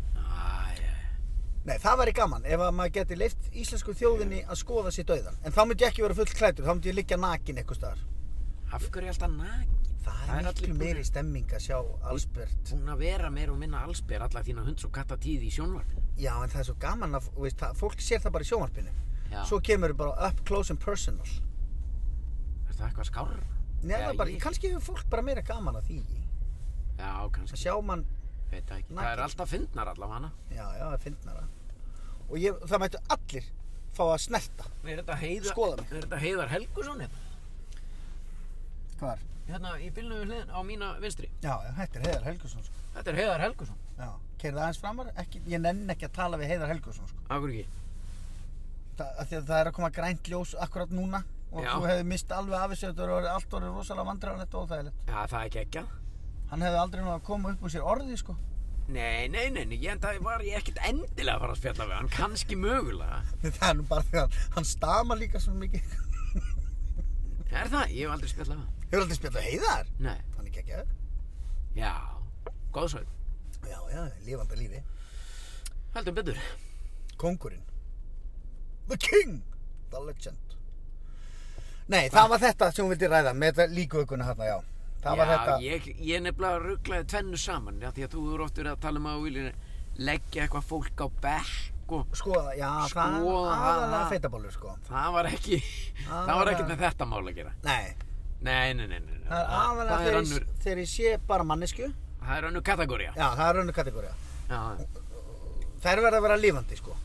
Speaker 2: Nei, það væri gaman Ef að maður geti leift íslensku þjóðinni að skoða sér dauðan En þá myndi ég ekki vera full klætur Þá myndi ég liggja nakin eitthvað staðar
Speaker 1: Af hverju er alltaf nakin?
Speaker 2: Það er
Speaker 1: allir
Speaker 2: miklu
Speaker 1: búnir-
Speaker 2: meiri stemming að sjá Allsbjörn.
Speaker 1: Búin að vera meira og minna allsber alla þína hunds og katta tíð í sjónvarpinu.
Speaker 2: Já, en það er svo gaman að, þú veist, það, fólk sér það bara í sjónvarpinu.
Speaker 1: Já.
Speaker 2: Svo kemur þau bara up close and personal.
Speaker 1: Er það eitthvað skárra?
Speaker 2: Nei,
Speaker 1: Já,
Speaker 2: það er bara,
Speaker 1: ég-
Speaker 2: kannski hefur fólk bara meira gaman að því.
Speaker 1: Já,
Speaker 2: Að
Speaker 1: kannski.
Speaker 2: sjá mann,
Speaker 1: Veit það ekki. Það
Speaker 2: Nakin.
Speaker 1: er alltaf fyndnar allavega hana.
Speaker 2: já, já, það finnst mér það. Og ég, það mættu allir fá að snerta.
Speaker 1: Er þetta heiðar...
Speaker 2: Skoða mig.
Speaker 1: Er þetta heiðar Helgusson hérna?
Speaker 2: Hvar?
Speaker 1: Hérna í bylnum við hliðin á mína vinstri.
Speaker 2: Já, já, þetta er Heiðar Helgusson, sko.
Speaker 1: Þetta er heiðar Helgusson.
Speaker 2: Já, keirðu aðeins framar, ekki, ég nenn ekki að tala við Heiðar Helgusson, sko.
Speaker 1: Akkur ekki.
Speaker 2: Það, af því að það er að koma grænt ljós akkurat núna og
Speaker 1: Já.
Speaker 2: þú hefði mist alveg af þessu, þetta voru allt orðið rosalega vandræðanlegt og óþægilegt.
Speaker 1: Já, það er ekki ekki að.
Speaker 2: Hann hefði aldrei nú að koma upp úr sér orðið sko
Speaker 1: Nei, nei, nei, nei, ég, það var ég ekkert endilega að fara að spjalla við hann, kannski mögulega.
Speaker 2: Það er nú bara þegar hann- hann stamar líka svo mikið
Speaker 1: Er það? Ég hef aldrei spjallað við hann.
Speaker 2: Hefur aldrei spjallað heiðar?
Speaker 1: Nei,
Speaker 2: Hann er geggjaður
Speaker 1: já, góðsveit,
Speaker 2: Já, já, lifandi lífi
Speaker 1: heldur betur.
Speaker 2: Kongurinn The King The Legend Nei, það var þetta sem hún vildi ræða með þetta líkuökuna hérna, já Það var
Speaker 1: já,
Speaker 2: þetta
Speaker 1: Ég, ég nefnilega rugglaði tvennu saman, já, því að þú eru oft verið að tala um að þú viljir leggja eitthvað fólk á bekk og
Speaker 2: Skoða, Sko, já,
Speaker 1: Sko,
Speaker 2: það er
Speaker 1: Skoða
Speaker 2: aðalega
Speaker 1: það.
Speaker 2: feitabólur sko
Speaker 1: það var ekki,
Speaker 2: Ah.
Speaker 1: það var ekkert með þetta mál að gera.
Speaker 2: Nei,
Speaker 1: Nei, nei, nei, nei, nei.
Speaker 2: það er aðalega
Speaker 1: það er
Speaker 2: þegar,
Speaker 1: önnur,
Speaker 2: ég- þegar ég sé bara mannesku
Speaker 1: það er önnur kategória.
Speaker 2: Já, það er önnu kategória
Speaker 1: Já,
Speaker 2: Þær verða að vera lifandi sko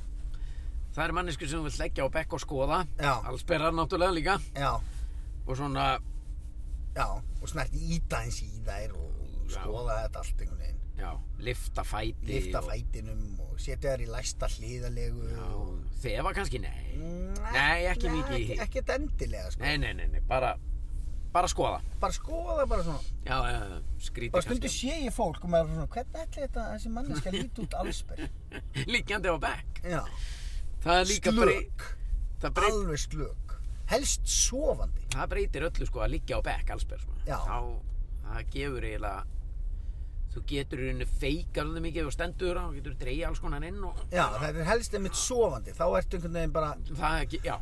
Speaker 1: það er mannesku sem þú vill leggja á bekk og skoða,
Speaker 2: Já.
Speaker 1: allsperrar náttúrulega líka
Speaker 2: Já,
Speaker 1: og svona,
Speaker 2: Já, og snert íta eins í þær og
Speaker 1: Já.
Speaker 2: skoða þetta allt einhvern veginn.
Speaker 1: já, lifta fæti.
Speaker 2: Lifta
Speaker 1: og-
Speaker 2: fætinum og setja þær í læsta hliðalegu.
Speaker 1: Já,
Speaker 2: og-
Speaker 1: þefa kannski, nei.
Speaker 2: Nei,
Speaker 1: Nei, ekki mikið í
Speaker 2: Ekki,
Speaker 1: því.
Speaker 2: ekkert endilega, sko.
Speaker 1: Nei, nei, nei, nei, bara, bara skoða.
Speaker 2: Bara skoða bara svona.
Speaker 1: Já, já, já, skrítið
Speaker 2: Bara stundu sé ég fólk og maður er svona, hvernig ætli þetta þessi manneska líti út allsberg?
Speaker 1: Liggjandi á bekk.
Speaker 2: Já,
Speaker 1: Það er líka brey-
Speaker 2: slök.
Speaker 1: það, brey-
Speaker 2: Alveg slök. Helst sofandi.
Speaker 1: það breytir öllu sko að liggja á bekk allsberg sko.
Speaker 2: Já.
Speaker 1: Þá, það gefur eiginlega, þú getur í rauninni feik alveg mikið og stendur á, þú getur dreigja alls konar inn og
Speaker 2: Já, það er helst einmitt sofandi. Þá ertu einhvern veginn bara,
Speaker 1: það ekki, já.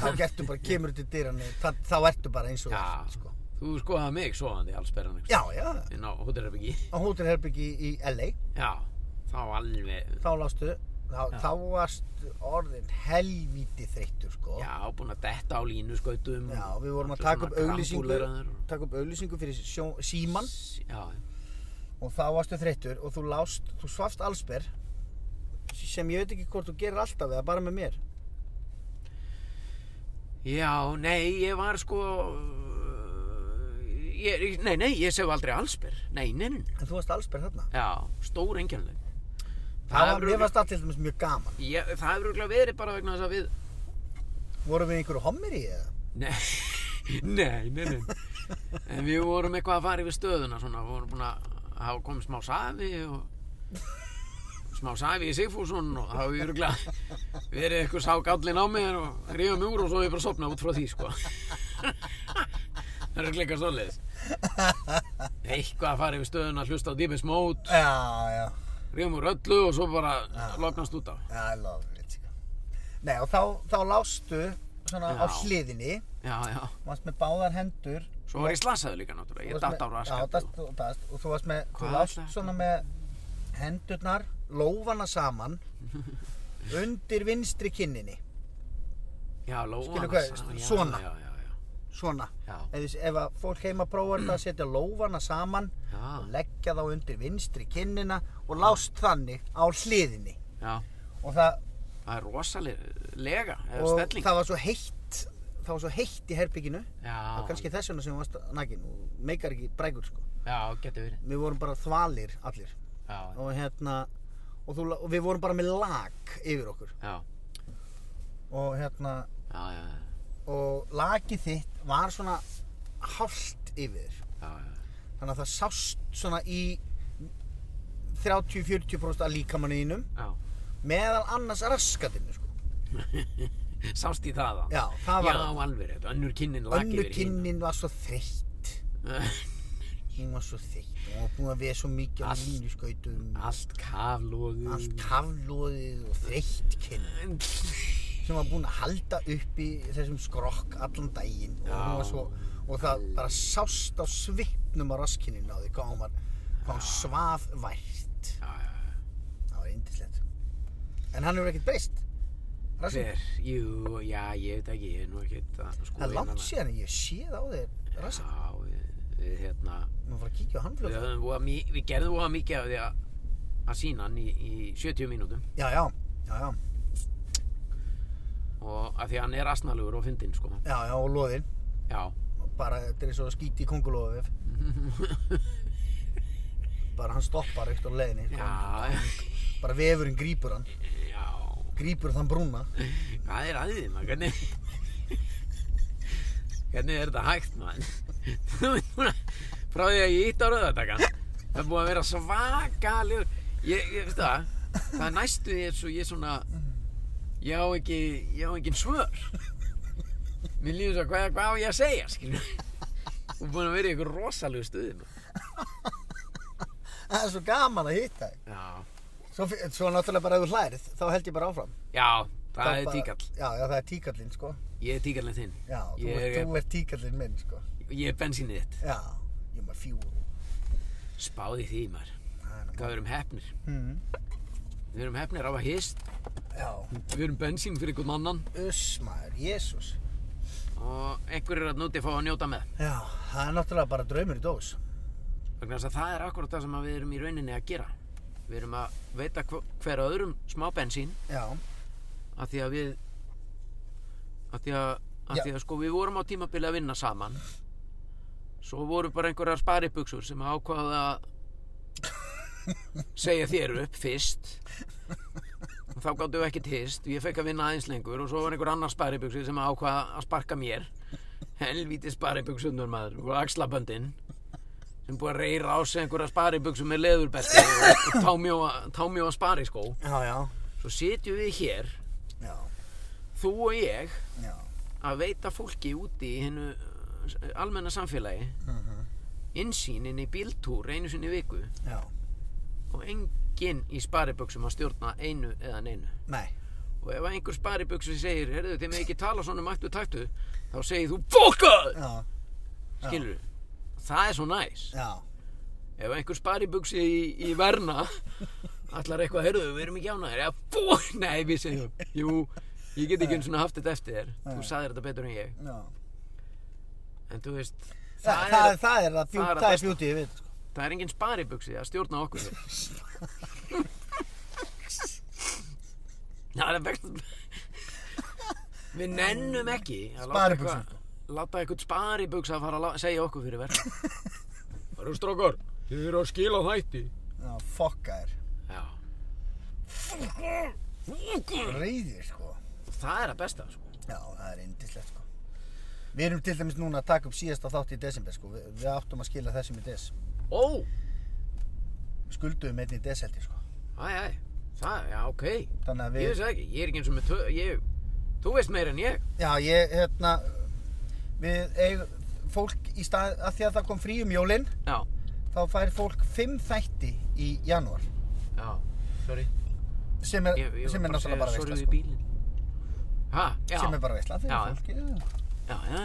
Speaker 2: þá gertu bara, kemur til dyrann, þá, þá ertu bara eins og
Speaker 1: Já,
Speaker 2: þú ert, sko.
Speaker 1: þú skoðaði mig sofandi allsbergan.
Speaker 2: Já, já,
Speaker 1: sko, Inn á hótelherbyggi.
Speaker 2: á hótelherbyggi í LA.
Speaker 1: Já, þá alveg,
Speaker 2: þá lástu þá, þá varst orðin helvíti þreyttur sko
Speaker 1: já, búin að detta á línu skautum.
Speaker 2: Já, við vorum að taka upp auglýsingu taka upp auglýsingu fyrir sjó, síman
Speaker 1: Já,
Speaker 2: og þá varstu þreyttur og þú lást þú svafst allsber sem ég veit ekki hvort þú gerir alltaf eða bara með mér
Speaker 1: Já, nei, ég var sko ég, Nei, nei, ég sef aldrei allsber Nei, nei, nei, nei.
Speaker 2: en þú varst allsber þarna
Speaker 1: já, stór engjarnleg
Speaker 2: það var, mér varst allt til dæmis mjög gaman
Speaker 1: ég, Það hefur örugglega verið bara vegna þess að við
Speaker 2: vorum við einhverju homir í eða?
Speaker 1: Nei, nei, nei, nei En við vorum eitthvað að fara yfir stöðuna svona, við vorum búin að hafa komið smá safi og smá safi í Sigfússon og það hefur örugglega verið eitthvað sá gallin á mér og rífa mig úr og svo hefur bara sopnað út frá því sko Það er örugglega eitthvað svoleiðis Eitthvað að fara yfir stöðuna, hlusta á dýmis mót
Speaker 2: já, já,
Speaker 1: rífa mig úr öllu og svo bara loknast út af
Speaker 2: já, I love it sko. nei og þá, þá lástu svona á
Speaker 1: Já.
Speaker 2: hliðinni
Speaker 1: Já, já,
Speaker 2: varst með báðar hendur
Speaker 1: svo var ég slasaði líka náttúrulega, ég datt á
Speaker 2: Já,
Speaker 1: raskat
Speaker 2: dast, og dast, og þú varst með, þú
Speaker 1: Hvað
Speaker 2: lást
Speaker 1: ætlaði þetta?
Speaker 2: svona með hendurnar, lófana saman, undir vinstri kinninni,
Speaker 1: Já, lóa
Speaker 2: Skilur
Speaker 1: hana
Speaker 2: hvað,
Speaker 1: saman, já,
Speaker 2: svona.
Speaker 1: Já, já, já
Speaker 2: svona.
Speaker 1: Já.
Speaker 2: Ef, þið- ef að fólk heima prófar þetta að setja lófana saman,
Speaker 1: Já.
Speaker 2: leggja þá undir vinstri kinnina og lást þannig á hliðinni.
Speaker 1: Já,
Speaker 2: Og það,
Speaker 1: það er rosalega eða
Speaker 2: og
Speaker 1: stelling
Speaker 2: það var svo heitt, það var svo heitt í herbygginu,
Speaker 1: Já,
Speaker 2: og kannski þess vegna sem þú varst nakin, og meikar ekki brækur sko.
Speaker 1: já, getur verið
Speaker 2: Við vorum bara þvalir allir.
Speaker 1: Já,
Speaker 2: og hérna og, þú, og við vorum bara með lag yfir okkur
Speaker 1: já,
Speaker 2: og hérna
Speaker 1: já, já, já,
Speaker 2: og lagið þitt var svona hálft yfir þér.
Speaker 1: já, já.
Speaker 2: þannig að það sást svona í 30-40% af líkamanninum
Speaker 1: já.
Speaker 2: meðal annars raskatinu sko.
Speaker 1: Sást í það að
Speaker 2: já, það var
Speaker 1: Já, alveg rétt, önnur kinnin laki
Speaker 2: önnur kinnin var svo þreytt hún var svo þreytt hún var búin að vera svo mikið á
Speaker 1: Allt-
Speaker 2: línuskautum
Speaker 1: Allt kaflóðu
Speaker 2: allt kaflóðið og þreytt kinn sem var búin að halda upp í þessum skrokk allan daginn og
Speaker 1: Já.
Speaker 2: hún var svo og það bara sást á svipnum á raskininu á því hvað hún var hvað hún svaf vært
Speaker 1: Já, já, já.
Speaker 2: það var indislegt en hann hefur ekkert breyst raskin,
Speaker 1: Hver? Jú, já, ég veit ekki, ég er nú ekkert að sko
Speaker 2: það er langt síðan en ég séð á þér raskin,
Speaker 1: Já, við, við hérna,
Speaker 2: maður fara að kíkja á hann
Speaker 1: við,
Speaker 2: fljótt
Speaker 1: höfðum voða mi- við gerðum voða mikið af því að, að sína hann í, í 70 mínútum
Speaker 2: já, já, já, já,
Speaker 1: og af því að hann er asnalugur og fyndinn sko.
Speaker 2: já, já og loðinn
Speaker 1: Já,
Speaker 2: bara þetta er eins og að skýti í kongulófið bara hann stoppar eftir á leiðinni sko.
Speaker 1: já,
Speaker 2: bara vefurinn grípur hann
Speaker 1: já,
Speaker 2: grípur þann brúna
Speaker 1: hvað er aðið maður, hvernig, hvernig er þetta hægt maður? Þú veit núna, frá því að ég ítt á rauðatakan, það er búið að vera svakalegur, ég, ég veist það, það er næstu því eins og ég svona, ég á ekki, ég á engin svör. Mér líður svo, hvað, hvað á ég að segja, skilur? Þú er búin að vera í ykkur rosalegu stuði maður.
Speaker 2: það er svo gaman að hitta þig
Speaker 1: Já,
Speaker 2: svo, fi- svo náttúrulega bara ef þú hlærið þá held ég bara áfram
Speaker 1: já, það
Speaker 2: Þá
Speaker 1: er
Speaker 2: bara-
Speaker 1: tíkall,
Speaker 2: já, já, það er tíkallinn sko
Speaker 1: ég er tíkallinn þinn,
Speaker 2: já, þú,
Speaker 1: Ég
Speaker 2: ert,
Speaker 1: er-
Speaker 2: þú ert tíkallinn minn sko
Speaker 1: ég er bensinnið þitt,
Speaker 2: já, ég er maður fjúr
Speaker 1: spáði því maður.
Speaker 2: Það er nú-
Speaker 1: Hvað við erum hefnir?
Speaker 2: Mhm.
Speaker 1: Við erum hefnir af að hist,
Speaker 2: já,
Speaker 1: við erum bensín fyrir einhvern annan
Speaker 2: uss maður, jésús
Speaker 1: og einhverjir er að núti fá að njóta með.
Speaker 2: já, það er náttúrulega bara draumur í dós
Speaker 1: Vegna þess að það er akkurat það sem að við erum í rauninni að gera. Við erum að veita hv- hver öðrum smá bensín
Speaker 2: já,
Speaker 1: af því að við, af því að, af
Speaker 2: Já.
Speaker 1: því að sko við vorum á tímabili að vinna saman. Svo voru bara einhverjar sparibuxur sem ákvaða að segja þér upp fyrst og þá gáttu við ekkert hist og ég fekk að vinna aðeins lengur og svo var einhver annar sparibuxi sem ákvað að sparka mér helvíti sparibuxundur maður og axlaböndin sem búið að reyra á sig einhverja sparibuxu með leðurbelti og, og támjóa, támjóa spariskó
Speaker 2: já, já
Speaker 1: svo sitjum við hér,
Speaker 2: já,
Speaker 1: þú og ég
Speaker 2: já,
Speaker 1: að veita fólki úti í hennu almenna samfélagi
Speaker 2: Mhm,
Speaker 1: innsýn inn í bíltúr einu sinni í viku
Speaker 2: já
Speaker 1: og enginn í sparibuxum að stjórna einu eða neinu
Speaker 2: nei,
Speaker 1: og ef einhver sparibuksu segir heyrðu þið með ekki tala svona um mættu taktu þá segir þú FOKKAÐ
Speaker 2: já,
Speaker 1: skilur það er svo næs
Speaker 2: já
Speaker 1: ef einhver sparibuksi í, í verna allar eitthvað heyrðu við erum ekki ánægir eða FOKK nei við segjum jú ég get ekki einu svona haft þetta eftir þér þú saðir þetta betur en ég
Speaker 2: Já.
Speaker 1: en þú veist
Speaker 2: Þa,
Speaker 1: það,
Speaker 2: það,
Speaker 1: er,
Speaker 2: það er að bjú,
Speaker 1: það er að
Speaker 2: það er
Speaker 1: besta.
Speaker 2: bjútið, ég veit sko.
Speaker 1: það er enginn sparibuksi að stjórna okkur það er best við nennum ekki að láta
Speaker 2: Sparibuxur.
Speaker 1: eitthvað- láta eitthvað sparibuks að fara að la- segja okkur fyrir verð það eru strókar þið eru að skila þætti
Speaker 2: Já, fokka þér.
Speaker 1: já
Speaker 2: Reyðir, sko.
Speaker 1: það er að besta sko.
Speaker 2: Já, það er indislegt, sko. Við erum til dæmis núna að taka upp síðasta þátt í desember, sko. Við, við áttum að skila þessum í des.
Speaker 1: ó,
Speaker 2: Við Skulduðum einn í des, held ég, sko.
Speaker 1: æ, æ, það, já, ok
Speaker 2: Þannig
Speaker 1: ég
Speaker 2: að við...
Speaker 1: veist það ekki, ég er ekki eins og með tö, ég, þú veist meira en ég
Speaker 2: Já, ég, hérna... Við eigum... Fólk í stað... Að því að það kom frí um jólinn,
Speaker 1: já,
Speaker 2: þá fær fólk fimm þætti í janúar.
Speaker 1: já, sorry
Speaker 2: Sem er,
Speaker 1: ég, ég
Speaker 2: sem er
Speaker 1: var
Speaker 2: náttúrulega bara
Speaker 1: að segja sorry við
Speaker 2: veistla, sko.
Speaker 1: bílinn ha, já,
Speaker 2: Sem er bara veistla fyrir
Speaker 1: Já, já.
Speaker 2: fólki. Já.
Speaker 1: já, já,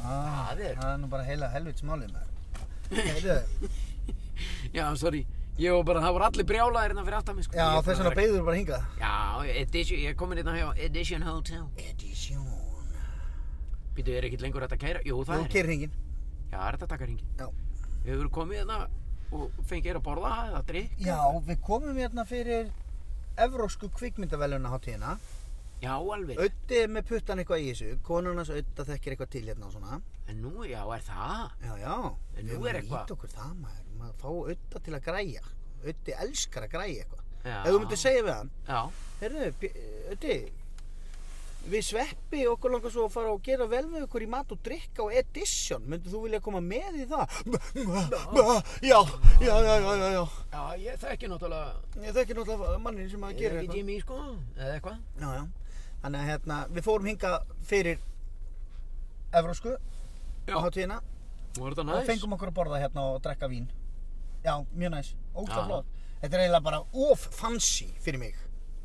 Speaker 2: Ah,
Speaker 1: Það er-
Speaker 2: Það er nú bara heila helvits málið maður. Heyrðu,
Speaker 1: já, sorry ég var bara, það voru allir brjálaðir innan fyrir aftan mig sko. Ég
Speaker 2: já,
Speaker 1: er búinn
Speaker 2: þess
Speaker 1: að
Speaker 2: vegna
Speaker 1: vera-
Speaker 2: beigður bara hingað.
Speaker 1: já, edition, ég er komin hérna hjá Edition Hotel
Speaker 2: Edition.
Speaker 1: býtu, er ekkert lengur hægt að kæra, jú, það
Speaker 2: Nú
Speaker 1: er
Speaker 2: keirir hringin.
Speaker 1: já, það er þetta að taka ringin
Speaker 2: Já.
Speaker 1: hefur komið hérna og fengið þér að borða eða drikk
Speaker 2: Já, við komum hérna fyrir Evrósku kvikmyndaveluna hátíðina.
Speaker 1: já, alveg,
Speaker 2: Ötti með puttan eitthvað í þessu. Konunars ötta þekkir eitthvað til hérna og svona.
Speaker 1: en nú, já, er það
Speaker 2: Já, já.
Speaker 1: En
Speaker 2: Við
Speaker 1: nú
Speaker 2: erum
Speaker 1: er
Speaker 2: að
Speaker 1: eitthvað.
Speaker 2: nýta okkur það maður. Maður fá ötta til að græja. Ötti elskar að græja eitthvað.
Speaker 1: já,
Speaker 2: Ef þú myndir segja við hann,
Speaker 1: já,
Speaker 2: heyrðu, Bj- ötti, við sveppi okkur langar svo að fara og gera vel við okkur í mat og drikka og edition. Myndir þú vilja koma með í það? Já, já, já, já, já, já.
Speaker 1: já, ég þekki náttúrulega
Speaker 2: Ég þekki náttúrulega mannin sem að
Speaker 1: ég er
Speaker 2: gera
Speaker 1: ekki
Speaker 2: eitthvað.
Speaker 1: Jimmy, sko, eða eitthvað
Speaker 2: Já, já. Þannig að hérna, við fórum hinga fyrir Evrósku á
Speaker 1: já,
Speaker 2: hátíðina
Speaker 1: nú er þetta
Speaker 2: og
Speaker 1: næs
Speaker 2: fengum okkur að borða hérna og drekka vín. Já, mjög næs. Ógst
Speaker 1: Já.
Speaker 2: og flott. Þetta er eiginlega bara of fancy fyrir mig.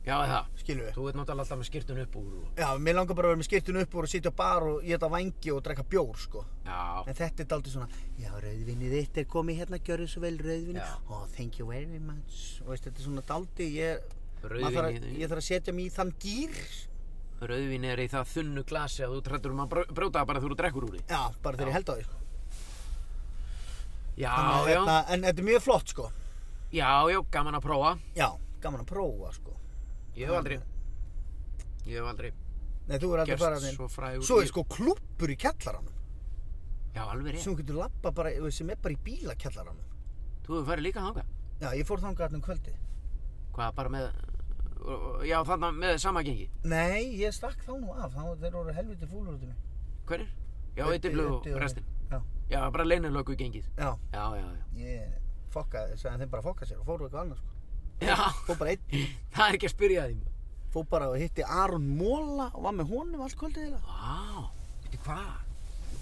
Speaker 1: Já, er það.
Speaker 2: skilur við
Speaker 1: Þú veit náttúrulega alltaf með skýrtun upp úr og...
Speaker 2: já, mér langar bara að vera með skirtun upp úr og sitja á bar og geta vangi og drekka bjór sko
Speaker 1: Já,
Speaker 2: en þetta er daldið svona já, rauðvinni þitt er komið hérna, gjörðu svo vel rauðvinni
Speaker 1: Já.
Speaker 2: oh, thank you very much og veist, þetta er svona daldið ég, maður þarf að,
Speaker 1: rauðvinni,
Speaker 2: ég þarf að setja mig í þann gýr
Speaker 1: rauðvinni er í það þunnu glasi að þú trættur um að bró- brjóta það bara þegar þú drekkur úr því.
Speaker 2: já, bara þegar
Speaker 1: Já.
Speaker 2: ég held á því
Speaker 1: Já,
Speaker 2: Þannig að
Speaker 1: já,
Speaker 2: hérna, en þetta er mjög flott sko
Speaker 1: já, já, gaman að prófa.
Speaker 2: já, gaman að prófa sko
Speaker 1: Ég hef aldrei, ég hef aldrei
Speaker 2: nei, þú er aldrei bara
Speaker 1: gerst
Speaker 2: þinn
Speaker 1: svo frægur.
Speaker 2: svo er
Speaker 1: Ég-
Speaker 2: sko klúppur í kjallaranum
Speaker 1: Já, alveg rétt.
Speaker 2: sem þú getur lappa bara, sem er bara í bílakjallaranum
Speaker 1: Þú hefur farið líka þangað.
Speaker 2: já, ég fór þangað hann um kvöldi
Speaker 1: Hvað, bara með, já, þarna með sama gengi.
Speaker 2: nei, ég stakk þá nú af, þá, þeir voru helviti fúlur út í mig
Speaker 1: Hverir? Já,
Speaker 2: Auddi-
Speaker 1: Eitiblu og
Speaker 2: Auddi og-
Speaker 1: restin.
Speaker 2: já.
Speaker 1: Já, bara leynilöku gengið.
Speaker 2: já,
Speaker 1: Já, já, já.
Speaker 2: ég fokkaði, sagði þeim bara að fokka sér og fóru eitthvað annað sko
Speaker 1: Já,
Speaker 2: fór bara einn,
Speaker 1: það er ekki að spyrja því.
Speaker 2: fór bara og hitti Aron Móla og var með honum allt kvöldið eiginlega.
Speaker 1: Vá, veitir hvað?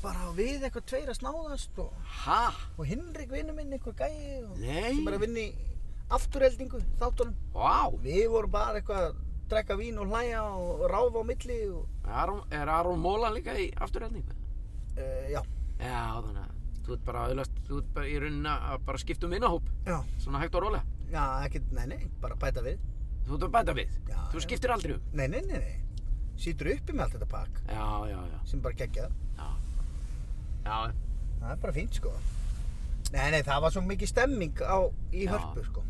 Speaker 2: bara við eitthvað tveir að snáðast og,
Speaker 1: Hæ?
Speaker 2: og Hinrik vinnu minn eitthvað gæi og
Speaker 1: Nei.
Speaker 2: sem er að vinna í afturheldingu þáttunum
Speaker 1: Vá,
Speaker 2: Við vorum bara eitthvað að drekka vín og hlæja og ráfa á milli og
Speaker 1: Aron, er Aron Móla líka í afturræðning?
Speaker 2: uh, já,
Speaker 1: Já, þannig að þú ert bara aðlast, þú ert bara í rauninni að bara skipta um innahóp,
Speaker 2: já,
Speaker 1: svona hægt og rólega.
Speaker 2: já, ekkert, nei, nei, bara bæta við.
Speaker 1: Þú ert að bæta við,
Speaker 2: Já,
Speaker 1: þú
Speaker 2: já.
Speaker 1: skiptir aldrei um.
Speaker 2: Nei, nei, nei, nei, sýtur uppi með allt þetta pakk
Speaker 1: Já, já, já,
Speaker 2: sem bara geggjað.
Speaker 1: já. Já,
Speaker 2: Það er bara fínt, sko. Nei, nei, það var svo mikið stemming á, í
Speaker 1: Já.
Speaker 2: hörpu, sko.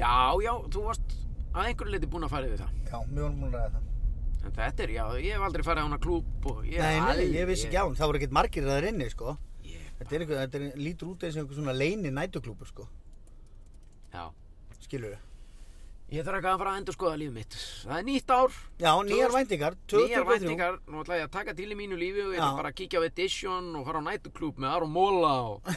Speaker 1: já, já, þú varst að einhverju leiti búin að fara yfir það.
Speaker 2: Já, við vorum búin að ræða það.
Speaker 1: En þetta er, já, ég hef aldrei farið á hana klúb og ég...
Speaker 2: nei, nei, ég vissi ekki á hann, það voru ekkert margir það inni, sko.
Speaker 1: Ég,
Speaker 2: Þetta er eitthvað, þetta er, lítur út eins og einhver svona leini nætuklúpur, sko.
Speaker 1: já.
Speaker 2: Skilur við?
Speaker 1: Ég þarf ekki að fara að endur skoða lífið mitt. Það er nýtt ár,
Speaker 2: Já, nýjar væntingar,
Speaker 1: Nýjar
Speaker 2: 2023.
Speaker 1: væntingar, nú ætla ég að taka til í mínu lífi og ég
Speaker 2: Já.
Speaker 1: ætla bara að kíkja á Edition og fara á nætuklúb með Aron Móla og...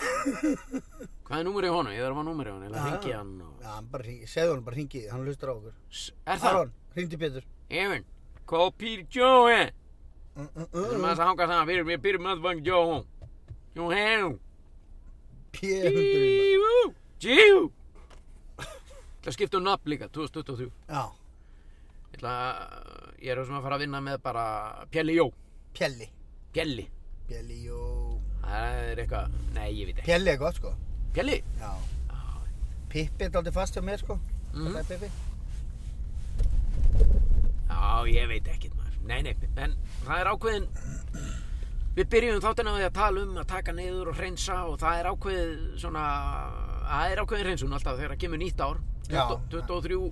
Speaker 1: Hvað er númerið á honum? Ég þarf að fá númerið á honum, ég ætla að
Speaker 2: Já.
Speaker 1: hringja í hann og...
Speaker 2: Já, hann bara hringi, segðu hann bara hringi, hann hlustar á okkur.
Speaker 1: S- Er það?
Speaker 2: Aron, hringdi Pétur.
Speaker 1: Efin, hvað Pír Jói?
Speaker 2: Mm, mm,
Speaker 1: Það er
Speaker 2: mm,
Speaker 1: maður að hanga saman fyrir mér, Pír Möðvang Jó. Jó hef,
Speaker 2: P100
Speaker 1: jíu, jíu. Það skipta um nafn líka, 2023.
Speaker 2: Já,
Speaker 1: Ég ætla að, ég er sem að fara að vinna með bara Pjelli Jó,
Speaker 2: Pjelli
Speaker 1: Pjelli.
Speaker 2: Pjelli og...
Speaker 1: Það er eitthvað, nei ég veit ekki.
Speaker 2: Pjelli er gott sko
Speaker 1: Pjelli?
Speaker 2: Já Pippi er aldrei fast hjá mér sko
Speaker 1: Mhm.
Speaker 2: Þetta er Pippi
Speaker 1: Já, ég veit ekkert maður. Nei, nei, en það er ákveðin... Við byrjum þáttina á því að tala um að taka niður og hreinsa og það er ákveð svona... Það er ákveðin hreinsun alltaf þegar það kemur nýtt ár.
Speaker 2: Já.
Speaker 1: 20 23...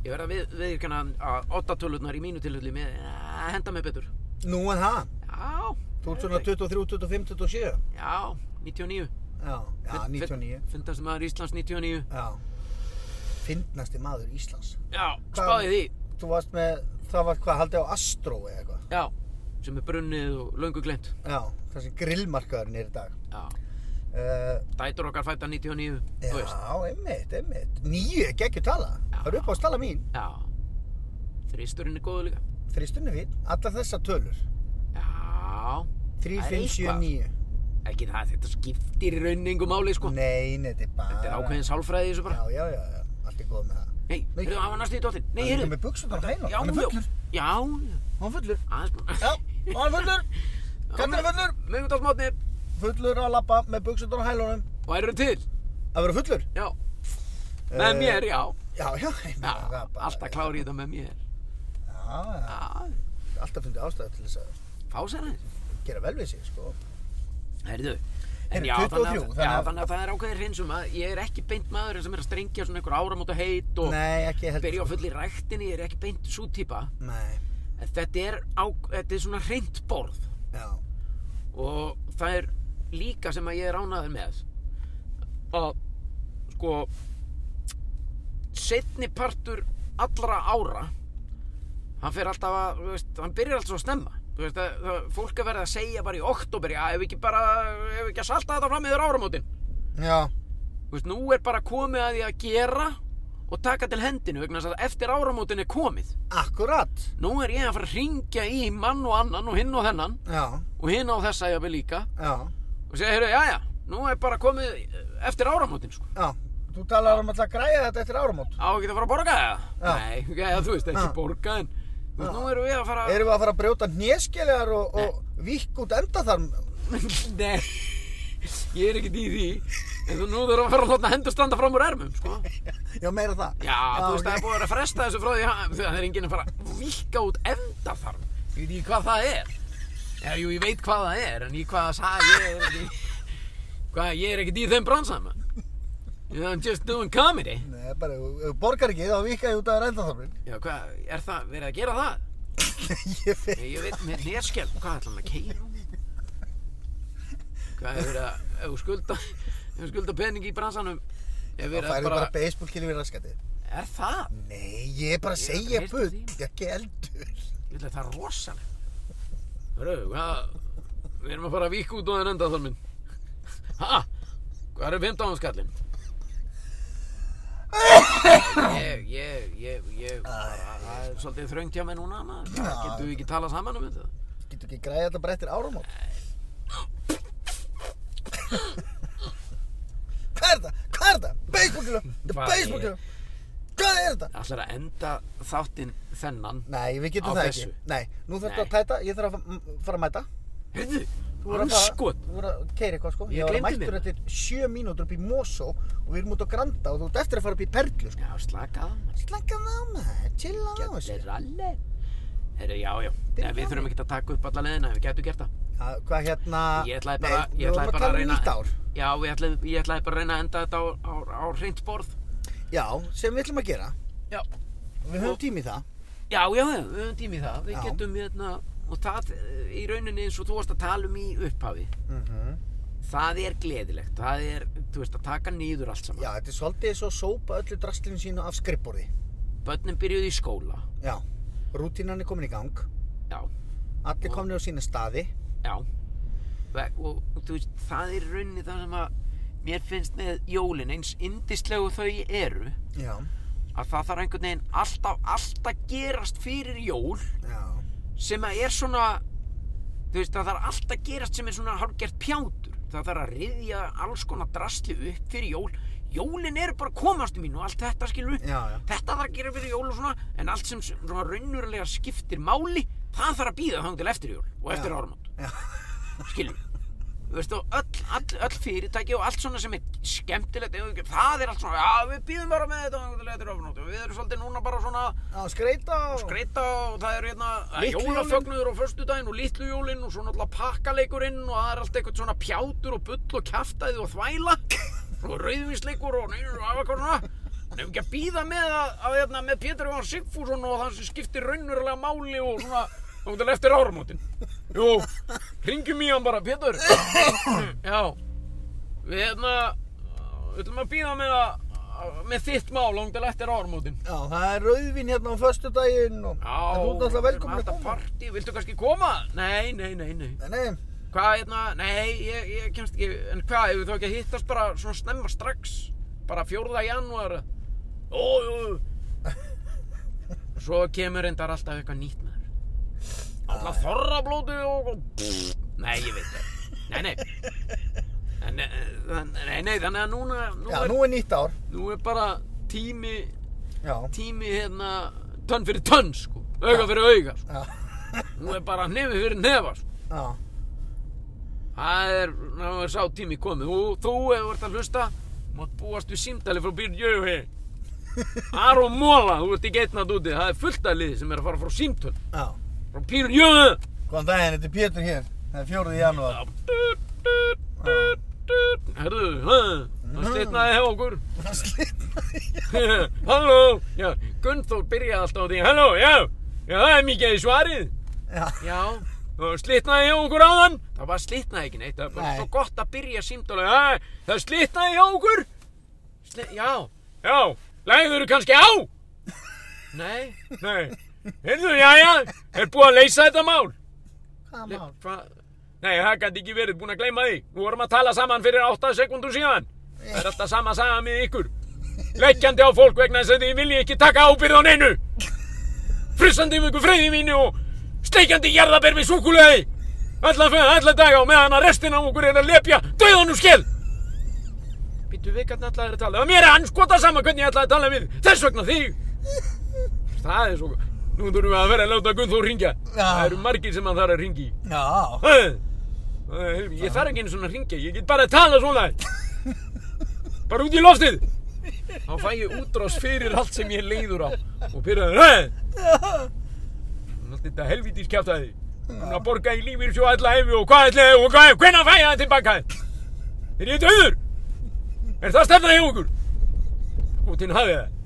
Speaker 1: Ég verða við, viðkjanna að 8 tölurnar í mínu tilhulli með að henda mig betur.
Speaker 2: Nú en það
Speaker 1: Já.
Speaker 2: Þú ert svona 23, 25, 27
Speaker 1: Já, 99.
Speaker 2: Já, já, 99
Speaker 1: Fyndast maður Íslands 99.
Speaker 2: Já Fyndnasti maður Íslands
Speaker 1: Já,
Speaker 2: Hvað-
Speaker 1: spáði því.
Speaker 2: Þú varst með, það var hvað, haldið á Astro eða eitthvað
Speaker 1: Já, sem er brunnið og löngu glemt.
Speaker 2: Já, það sem grillmarkaðurinn er í dag
Speaker 1: Já.
Speaker 2: uh,
Speaker 1: Dætur okkar fætta 99,
Speaker 2: Já,
Speaker 1: þú veist.
Speaker 2: einmitt, einmitt Nýju, geggjur tala Það er upp á stala mín
Speaker 1: Já. Þristurinn er góður líka.
Speaker 2: Þristunni fín Allar þessar tölur
Speaker 1: Já.
Speaker 2: 3,
Speaker 1: Það er
Speaker 2: 5, 7,
Speaker 1: eitthvað.
Speaker 2: 9
Speaker 1: Ekki það, þetta skiptir í rauningu máli, sko.
Speaker 2: Nei, nei, þetta er bara
Speaker 1: Þetta er ákveðin sálfræði í þessu bara.
Speaker 2: Já, já, já, já, allt er góð með það
Speaker 1: Nei,
Speaker 2: Nei.
Speaker 1: heyrðu, það var næstu í dóttin. Nei,
Speaker 2: Hann er
Speaker 1: heyrðu.
Speaker 2: með buksunar á hæna,
Speaker 1: Já,
Speaker 2: hann er
Speaker 1: já.
Speaker 2: fullur
Speaker 1: Já, já.
Speaker 2: Hann er fullur
Speaker 1: aðeins bara.
Speaker 2: Já, hann er fullur Kallar er fullur
Speaker 1: Mögundalsmátni,
Speaker 2: Fullur að labba með buksunar á hælunum
Speaker 1: og eru til.
Speaker 2: Að vera fullur
Speaker 1: Já. Með
Speaker 2: Eh,
Speaker 1: mér, já.
Speaker 2: Já, já, ég
Speaker 1: Já,
Speaker 2: meina, það er bara-
Speaker 1: alltaf klári í þetta með mér.
Speaker 2: Já, já,
Speaker 1: Já,
Speaker 2: alltaf fundið ástæðu til þess að
Speaker 1: fá sér aðeins.
Speaker 2: gera vel við sig, sko
Speaker 1: Heyrðu.
Speaker 2: Heyrðu,
Speaker 1: En já,
Speaker 2: 23,
Speaker 1: þannig að,
Speaker 2: þannig
Speaker 1: já,
Speaker 2: að-
Speaker 1: þannig að það er ákveðið hreinsum að ég er ekki beint maður sem er að strengja svona einhver áramóta heit og
Speaker 2: Nei, ekki heldur sko.
Speaker 1: byrja á fulli ræktinni, ég er ekki beint svo típa.
Speaker 2: Nei,
Speaker 1: En þetta er, á, þetta er svona hreint borð
Speaker 2: já,
Speaker 1: og það er líka sem að ég er ánaður með að sko setni partur allra ára hann fer alltaf að, þú veist, hann byrjar alltaf að stemma þú veist, að, það, fólk er verið að segja bara í oktober, já, ef ekki bara ef ekki að salta þetta fram yfir áramótin
Speaker 2: já,
Speaker 1: þú veist, nú er bara komið að því að gera og taka til hendinu vegna þess að eftir áramótin er komið
Speaker 2: akkurat
Speaker 1: nú er ég að fara að ringja í mann og annan og hinn og þennan
Speaker 2: Já,
Speaker 1: og hinn á þessa jafnvel líka
Speaker 2: já,
Speaker 1: og segja, heyrðu, jæja, nú er bara komið eh, eftir áramótin, sko.
Speaker 2: já Þú Þú talar um alltaf að græja þetta eftir áramót.
Speaker 1: Á ekki að fara að borga það?
Speaker 2: Já.
Speaker 1: Nei, já, þú veist, ekki
Speaker 2: Já.
Speaker 1: borga en Þú veist,
Speaker 2: Já.
Speaker 1: nú erum við að fara
Speaker 2: Erum við að fara að brjóta hnéskeljar og, og vikk út endatharm?
Speaker 1: Nei, ég er ekkert í því En þú nú þurfum að fara að láta hendur standa fram úr ermum, sko
Speaker 2: Já, meira það.
Speaker 1: Já, þú veist, það er
Speaker 2: ok.
Speaker 1: búið að vera að fresta þessu frá því að það er enginn að fara að vika út enda þarf Ég veit ekki hvað það er Já, jú, ég veit hvað það er, en í hvað það sag ég er ekki Hvað, ég er ekkert í þeim bransama I'm just doing comedy
Speaker 2: Nei, bara, ef ef þú borgar ekki, þá vikka ég út af endatharmin.
Speaker 1: Já, hvað, er það, verið að gera það?
Speaker 2: ég veit.
Speaker 1: Nei, ég veit með neskjál, hvað ætla hann að keira? Hvað er verið að, ef þú skulda, ef þú skulda pening í bransanum, er
Speaker 2: Það
Speaker 1: verið að
Speaker 2: færðu bara
Speaker 1: bara,
Speaker 2: baseball kilið við raskatið.
Speaker 1: er það?
Speaker 2: Nei, ég er bara að
Speaker 1: Ég er
Speaker 2: segja
Speaker 1: bara að
Speaker 2: bull,
Speaker 1: treysta
Speaker 2: ekki eldur.
Speaker 1: Ég ætla að það er rosalega. Hörru, hvað, við erum að fara að víka út á þenn enda þar minn. Ha, hvað um eru 15 skallinn? Ég, ég, ég, ég, bara, það er svolítið þröngt hjá mig núna, maður.
Speaker 2: Já.
Speaker 1: Getum við ekki talað saman um þetta?
Speaker 2: Getur ekki græja þetta bara eftir áramót? Hvað er þetta? Hvað er þetta? Baseball kilið? Þetta er
Speaker 1: Hvað
Speaker 2: baseball
Speaker 1: er-
Speaker 2: kilið? Hvað er þetta?
Speaker 1: Ætlar að enda þáttinn þennan.
Speaker 2: Nei, við getum
Speaker 1: Á
Speaker 2: það
Speaker 1: þessu.
Speaker 2: ekki. Nei, nú þurftu
Speaker 1: Nei.
Speaker 2: að tæta, ég þarf að fa- m- fara að mæta.
Speaker 1: Heyrðu,
Speaker 2: Þú voru að fara,
Speaker 1: hanskot.
Speaker 2: þú voru að keira eitthvað sko.
Speaker 1: Ég
Speaker 2: var að
Speaker 1: gleymdi
Speaker 2: mættur
Speaker 1: mér.
Speaker 2: eftir sjö mínútur upp í Mosó og við erum út á Granda og þú ert eftir að fara upp í Perlu sko.
Speaker 1: Já, slaka á, maður.
Speaker 2: Slaka á maður, chilla á þessu.
Speaker 1: Gjallir allir. Herru, já, já.
Speaker 2: Þetta er
Speaker 1: Nei, við
Speaker 2: gaman.
Speaker 1: þurfum ekki að taka upp alla leðina, við getum gert það.
Speaker 2: Ja, Hvað hérna?
Speaker 1: Ég ætlaði bara,
Speaker 2: Nei,
Speaker 1: ég
Speaker 2: við vorum
Speaker 1: ætlaði bara að
Speaker 2: tala um
Speaker 1: reyna.
Speaker 2: nýtt ár.
Speaker 1: Já, ég ætlaði, ég ætlaði bara að reyna að enda þetta á, á, á hreint borð.
Speaker 2: Já, sem við ætlum að gera.
Speaker 1: Já.
Speaker 2: Við höfum
Speaker 1: Og-
Speaker 2: tími í það.
Speaker 1: Já, já, já, við höfum tími í það. Við
Speaker 2: Já.
Speaker 1: getum hérna, og það eh, í rauninni eins og þú varst að tala um í upphafi.
Speaker 2: Mm
Speaker 1: Mhm.
Speaker 2: -hmm.
Speaker 1: Það er gleðilegt, það er, þú veist, að taka nýður allt saman.
Speaker 2: Já, þetta er svolítið eins og að sópa öllu drastlinu sínu af skrippborði.
Speaker 1: Börnin byrjuðu í skóla.
Speaker 2: Já, rútínan er komin í gang,
Speaker 1: Já,
Speaker 2: allir
Speaker 1: Og-
Speaker 2: komnir á sína staði.
Speaker 1: já. Ve- Og, og þú veist, það er í rauninni það sem að mér finnst með jólin eins indislegu þau eru.
Speaker 2: Já,
Speaker 1: að það þarf einhvern veginn alltaf, alltaf gerast fyrir jól
Speaker 2: já,
Speaker 1: sem að er svona þú veist, það þarf alltaf gerast sem er svona hálfgert pjátur það þarf að riðja alls konar drasli upp fyrir jól jólin eru bara komastu mín og allt þetta skilur
Speaker 2: já, já.
Speaker 1: þetta þarf að gera fyrir jól og svona en allt sem svona raunverulega skiptir máli það þarf að býða þangum til eftir jól og eftir
Speaker 2: Já.
Speaker 1: áramót
Speaker 2: Já.
Speaker 1: skilur þú veist og öll, öll, öll fyrirtæki og allt svona sem er skemmtilegt ef þú ekki- það er allt svona, já við býðum bara með þetta þangum til eftir áramót og við erum svolítið núna bara svona
Speaker 2: Já, skreita og...
Speaker 1: skreita og það eru hérna
Speaker 2: Litlu jólin.
Speaker 1: jólafögnuður á föstudaginn og litlu jólin og svo náttúrulega pakkaleikurinn og það er allt eitthvað svona pjátur og bull og kjaftaði og þvæla og rauðvinsleikur og neynir og afa hvað svona en ef ekki að býða með að, að hérna, með Pétur Jóhann Sigfússon og það sem skiptir raunverulega máli og svona þá til eftir áramótin Jú, ringjum í hann bara, Pétur Já, við hérna við ætlum að býða með að með þitt mál langt til eftir áramótin
Speaker 2: Já, það er rauðvin hérna á föstudaginn og...
Speaker 1: Já,
Speaker 2: En þú ert náttúrulega velkomin
Speaker 1: að
Speaker 2: að koma.
Speaker 1: partí, viltu kannski koma? Nei, nei, nei, nei.
Speaker 2: Nei, nei,
Speaker 1: Hvað, hérna, nei, ég, ég kemst ekki, en hvað, hefur þú ekki að hittast bara svona snemma strax? Bara 4. janúar? Ó, jú, jú. Svo kemur reyndar alltaf eitthvað nýtt með þér. Alltaf þorrablótu og, og, nei, ég veit það. Nei, nei. En, eh, þann- nei, nei, þannig að núna, nú
Speaker 2: já,
Speaker 1: er,
Speaker 2: nú er nýtt ár.
Speaker 1: nú er bara tími,
Speaker 2: Já,
Speaker 1: tími, hérna, tönn fyrir tönn, sko. Auga fyrir auga, sko.
Speaker 2: já,
Speaker 1: Nú er bara nefi fyrir nefa sko.
Speaker 2: já,
Speaker 1: Það er, ná er sá tími komið Þú, þú hefur verið að hlusta Mátt búast við símdali frá Björn Jöfi Aron Móla, þú ert ekki einnað úti Það er fullt af liði sem er að fara frá símtöl
Speaker 2: já.
Speaker 1: Frá Björn Jöfi
Speaker 2: Góðan daginn, þetta er Pétur hér. Það er fjórið í janúar.
Speaker 1: Herðu, það slitnaði hjá okkur
Speaker 2: Það slitnaði.
Speaker 1: Halló, já, Gunnþór byrjaði alltaf á því Halló, já, já, það er mikið í svarið
Speaker 2: Já,
Speaker 1: Já, og slitnaði hjá okkur áðan Það var slitnaði ekki neitt, það var bara
Speaker 2: Nei.
Speaker 1: svo gott að byrja símdóla Það slitnaði hjá okkur Sli Já, já, lægður kannski á Nei, nei Heyrðu, já, já, er búið að leysa þetta mál
Speaker 2: hvað
Speaker 1: Le
Speaker 2: mál?
Speaker 1: hva? Nei, það gæti ekki verið búin að gleyma því Við vorum að tala saman fyrir 8 sekundum síðan Það er alltaf sama saga með ykkur Leggjandi á fólk vegna þess að þið vilji ekki taka ábyrð á neinu Frissandi um ykkur freyði mínu og sleikjandi jarðaber með súkulegi Alla, alla daga og meðan að restin á okkur er að lepja dauðan úr skell Býtu, Býtu við hvernig ætlaði að tala? Og mér er anskota sama hvernig ég ætlaði að tala við. Þess vegna þig. Það er svo... Nú þurfum við að vera að láta Gunnþór ringja.
Speaker 2: Já.
Speaker 1: Það eru margir sem hann þarf að ringi.
Speaker 2: Já,
Speaker 1: Ég þarf ekki einu svona að ringja. Ég get bara að tala svona. Bara út í loftið. Þá fæ ég útrás fyrir allt sem ég er leiður á. Og pyrraður. Hey! Allt þetta helvítið skjátaði. Hún að borga í lífir svo alla hefi og hvað ætlaði og hvað, hvenær fæ ég það tilbaka? Er ég döður? Er það stefna hjá okkur? Útinn hafið það.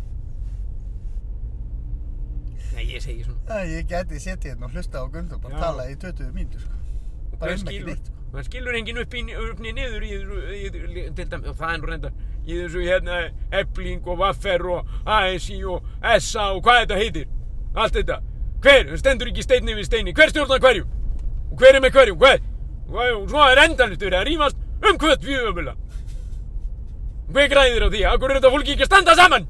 Speaker 1: Nei, ég segi svona.
Speaker 2: Æ, ég gæti setið hérna og hlusta á Gunnþór bara
Speaker 1: Já.
Speaker 2: tala í 20 mínútur sko.
Speaker 1: Og
Speaker 2: Bara
Speaker 1: hver
Speaker 2: um ekki
Speaker 1: skilur,
Speaker 2: neitt.
Speaker 1: maður skilur enginn upp í, upp í niður í, í, í til dæmis, og það er nú reyndar, í þessu hérna Ebling og Vaffer og ASI og SA og hvað þetta heitir, allt þetta. Hver, það stendur ekki steinni við steini, hver stjórnar hverju? Og hver er með hverju, hver? Og og svo er endanlegt verið að rýmast um hvött við ömulega. Hver græðir á því, akkur er þetta fólki ekki að standa saman?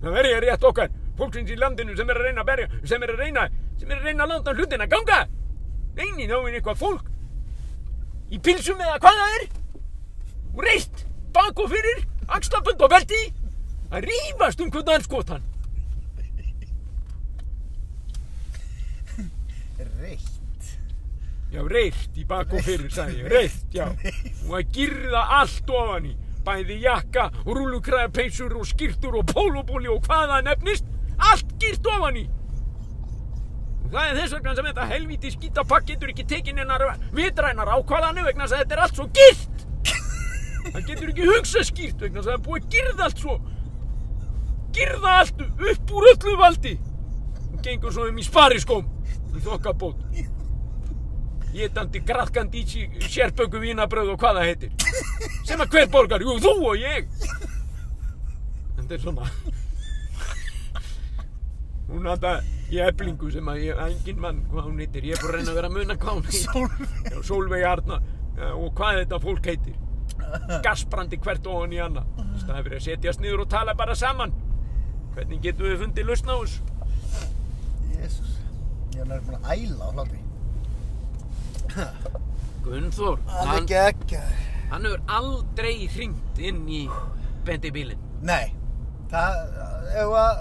Speaker 1: Það verði ég rétt okkar, fólksins í landinu sem er að reyna að berja, sem er að reyna, sem er að reyna að láta hlutina ganga. Neini, þá er eitthvað fólk. Í pilsum eða hvað það er. Og reitt, bak og fyrir, axlabönd og belti. Að rífast um hvernig hann skot hann.
Speaker 2: Reitt.
Speaker 1: Já, reitt í bak og fyrir, sagði ég. Reitt, já. Og að girða allt ofan í. Bæði jakka, rúlukræðapeysur og skýrtur og pólubóli og hvað það nefnist. Allt girt ofan í. Og það er þess vegna sem þetta helvíti skítapakk getur ekki tekin hennar vitrænar ákvarðanir vegna þess að þetta er allt svo girt. Það getur ekki hugsað skýrt vegna þess að það er búið að girða allt svo. Girða allt upp úr öllu valdi. Og gengur svo um í spariskóm í þokkabót étandi, graðkandi í sérböku vínabröð og hvað það heitir sem að hver borgar, jú, þú og ég en þetta er svona hún hann það í eblingu sem að ég, engin mann, hvað hún heitir ég er bara að reyna að vera að muna hvað hún heitir
Speaker 2: Sólveig.
Speaker 1: Já, Sólveig Arna Já, og hvað þetta fólk heitir gasbrandi hvert ofan í hana staði fyrir að setjast niður og tala bara saman hvernig getum við fundið lausn á þessu
Speaker 2: Jésús. Ég er nærmast búin að æla á hlátti.
Speaker 1: Gunnþór,
Speaker 2: Það er
Speaker 1: hann,
Speaker 2: ekki ekki.
Speaker 1: hann hefur aldrei hringt inn í bendi bílinn
Speaker 2: Nei. Það, ef að,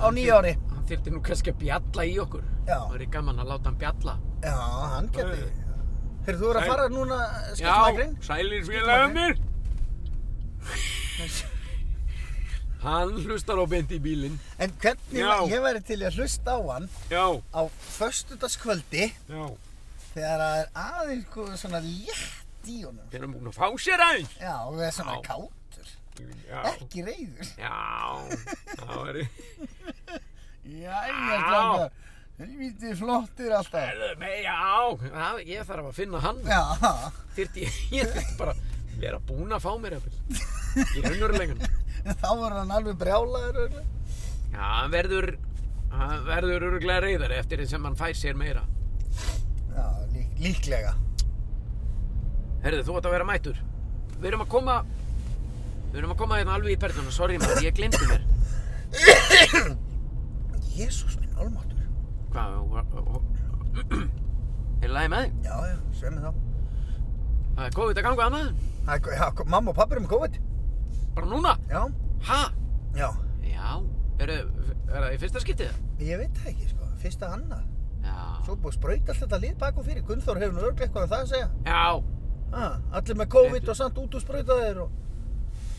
Speaker 2: á nýju ári.
Speaker 1: Hann þyrfti nú kannski að bjalla í okkur.
Speaker 2: Já.
Speaker 1: Það verið gaman að láta hann bjalla.
Speaker 2: Já, hann geti.
Speaker 1: Nei.
Speaker 2: Heyrðu, þú er
Speaker 1: Nei.
Speaker 2: að fara núna skilsmagrinn?
Speaker 1: sælir
Speaker 2: um
Speaker 1: félagum mér. hann hlustar á beint í bílinn.
Speaker 2: En hvernig,
Speaker 1: Já.
Speaker 2: ég væri til í að hlusta á hann
Speaker 1: Já,
Speaker 2: á föstudagskvöldi
Speaker 1: já.
Speaker 2: þegar það er aðeins sko- svona létt í honum.
Speaker 1: Þeir eru búin að fá sér aðeins.
Speaker 2: Já, og það er svona
Speaker 1: Já.
Speaker 2: kátur.
Speaker 1: Já,
Speaker 2: Ekki reyður.
Speaker 1: já. Það verið,
Speaker 2: Jæja,
Speaker 1: Já.
Speaker 2: strákar. Helvítið flottir alltaf.
Speaker 1: já. Það, ég þarf að finna hann.
Speaker 2: Já,
Speaker 1: Þyrfti, ég þyrfti bara að vera búin að fá mér eitthvað. Í raunverulegan.
Speaker 2: þá var hann alveg brjálaður. örugglega.
Speaker 1: Já, hann verður, hann verður öruglega reyðari eftir því sem hann fær sér meira.
Speaker 2: Já, lík, líklega.
Speaker 1: Herðu, þú ætti að vera mættur. Við erum að koma, við erum að koma hérna alveg í perluna, sorry maður, ég glemdi mér.
Speaker 2: Jésús minn, almátur.
Speaker 1: Hvað, ó- ó- ó- er í lagi með þig?
Speaker 2: Já, já, sem er þá. Það
Speaker 1: Það er COVID að ganga annað,
Speaker 2: er ko- Já, ko- mamma og pappa eru með COVID.
Speaker 1: bara núna.
Speaker 2: Já,
Speaker 1: Ha?
Speaker 2: já.
Speaker 1: Já, eru, er það í fyrsta skiptið?
Speaker 2: Ég veit það ekki, sko. Fyrsta annað.
Speaker 1: Já.
Speaker 2: Svo búið að sprauta allt þetta lið bak og fyrir. Gunnþór hefur nú örglega eitthvað að það að segja.
Speaker 1: Já,
Speaker 2: Ha, allir með COVID
Speaker 1: Réttur.
Speaker 2: og samt út og sprauta þeir og...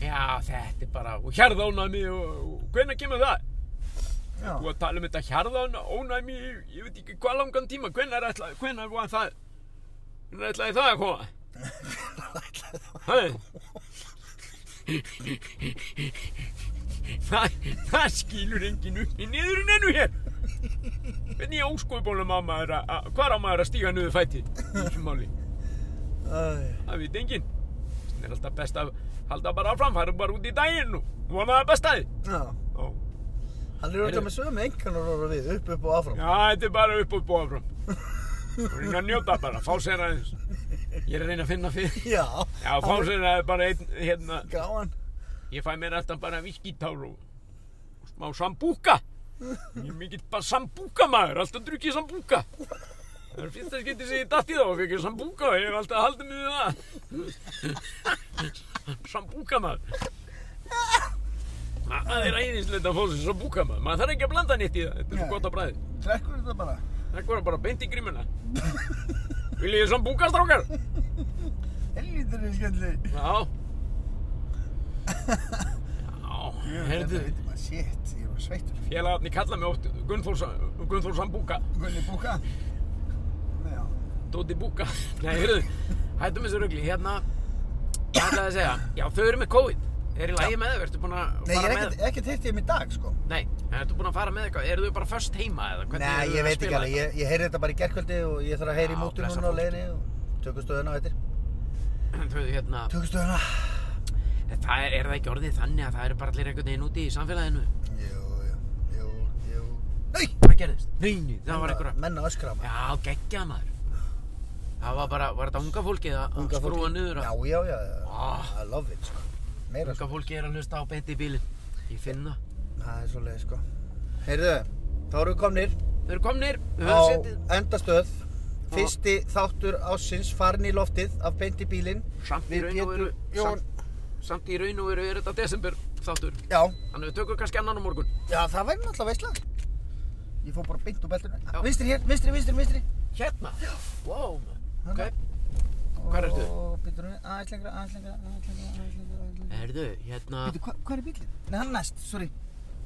Speaker 1: já, þetta er bara, og hjarðónæmi og, og hvenær kemur það?
Speaker 2: Já,
Speaker 1: Þú að tala um þetta hjarðónæmi, ég, ég veit ekki hvað langan tíma, hvenær ætlaði, hvenær var það? Hvenær ætlaði það að koma? Hæ? Þa, það skilur enginn upp í niðurinn ennu hér Hvernig ég óskupbólum á maður að, að hvar á maður að stíga niður fæti í þessu máli,
Speaker 2: Æ,
Speaker 1: það veit enginn Það er alltaf best að halda bara áfram, fara bara út í daginn og vona það besta þið
Speaker 2: já.
Speaker 1: Já,
Speaker 2: Hann er
Speaker 1: Heyrðu.
Speaker 2: örglega með sömu einhvernar orða við, upp, upp og áfram.
Speaker 1: Já, þetta er bara upp og búið áfram og reyna að njóta bara, fá sér aðeins Ég er að reyna að finna fyrir
Speaker 2: Já,
Speaker 1: Já, fá sér aðeins bara einn, hérna
Speaker 2: gráan.
Speaker 1: Ég fæ mér alltaf bara viskítár og, og smá sambúka. Ég er mikill bara sambúka maður, alltaf drukkið sambúka. Það er fyrsta skipti sem ég datt í það og fekk ég sambúka og ég hef alltaf haldið mig við það. sambúka maður. Ma- Það er æðislegt að fá þessu sambúka maður. Maður þarf ekki að blanda nýtt í það. Þetta er svo
Speaker 2: Nei.
Speaker 1: gott á bræði.
Speaker 2: Drekkur þetta bara?
Speaker 1: Það voru bara beint í grímuna. Viljið þið sambúka strákar?
Speaker 2: Helvítur er skemmtileg.
Speaker 1: Já. Já, herðu.
Speaker 2: Þetta veitum að shit, ég var sveittur.
Speaker 1: Félagarni kalla mig oft Gunnþór Sa- Gunnþór Sambúka.
Speaker 2: Gunni búka? Nei, já.
Speaker 1: Dóti Búka. Nei, heyrðu, hættum þessu rugli. Hérna, hvað ætlaði að segja? Já, þau eru með COVID. Er í lagi með þau? Ertu búin að
Speaker 2: Nei, ég
Speaker 1: fara
Speaker 2: er
Speaker 1: með
Speaker 2: ekkert, ekkert hitt í mig í dag, sko.
Speaker 1: Nei, ertu búin að fara með eitthvað? Eru þau bara först heima eða hvernig
Speaker 2: Nei,
Speaker 1: eru þau
Speaker 2: ég
Speaker 1: að
Speaker 2: veit ekki
Speaker 1: spila
Speaker 2: alveg. Ég, ég heyri þetta bara í gerkvöldi og ég þarf að heyri í
Speaker 1: Já,
Speaker 2: mútu
Speaker 1: blessa
Speaker 2: núna á
Speaker 1: fólk.
Speaker 2: leiðinni og tökum stöðuna á eftir.
Speaker 1: þetta? Þau, hérna,
Speaker 2: Tökum stöðuna.
Speaker 1: það er, er það ekki orðið þannig að það eru bara allir einhvern veginn úti í samfélaginu?
Speaker 2: Jú, jú, jú, jú. Nei!
Speaker 1: Hvað gerðist? Nei, nei, það var einhverja.
Speaker 2: Menn að öskra maður.
Speaker 1: Já, geggjað maður. Það var bara, var þetta unga fólkið að
Speaker 2: Unga
Speaker 1: skrúa
Speaker 2: fólkið.
Speaker 1: niður að...
Speaker 2: Já, já, já, já.
Speaker 1: Ah,
Speaker 2: I love it, sko. Meira,
Speaker 1: unga
Speaker 2: sko.
Speaker 1: fólkið er að hlusta á beinti í bílinn. Ég finn það.
Speaker 2: Það er svo sko. Heyrðu, þá erum við komnir
Speaker 1: Þau eru komnir, við
Speaker 2: á
Speaker 1: höfum setið
Speaker 2: endastöð. Fyrsti þáttur ásins farin í loftið af beint í bílinn.
Speaker 1: samt í
Speaker 2: Við
Speaker 1: raun og veru,
Speaker 2: Pétur Jón-
Speaker 1: samt, samt í raun og veru er þetta desember þáttur.
Speaker 2: Já,
Speaker 1: Þannig við tökum kannski annan á morgun.
Speaker 2: já, það væri náttúrulega veisla. Ég fór bara beint úr beltunum.
Speaker 1: Já.
Speaker 2: Vinstri hér, vinstri, vinstri, vinstri.
Speaker 1: Hérna? Wow, maður. ok. Hvar
Speaker 2: Hvað
Speaker 1: ertu?
Speaker 2: Og býtur hún aðeins lengra, aðeins lengra, aðeins lengra, aðeins lengra, aðeins lengra.
Speaker 1: Herðu, hérna,
Speaker 2: Býtur, hvað hva er bílinn? Nei, hann er næst, sorry.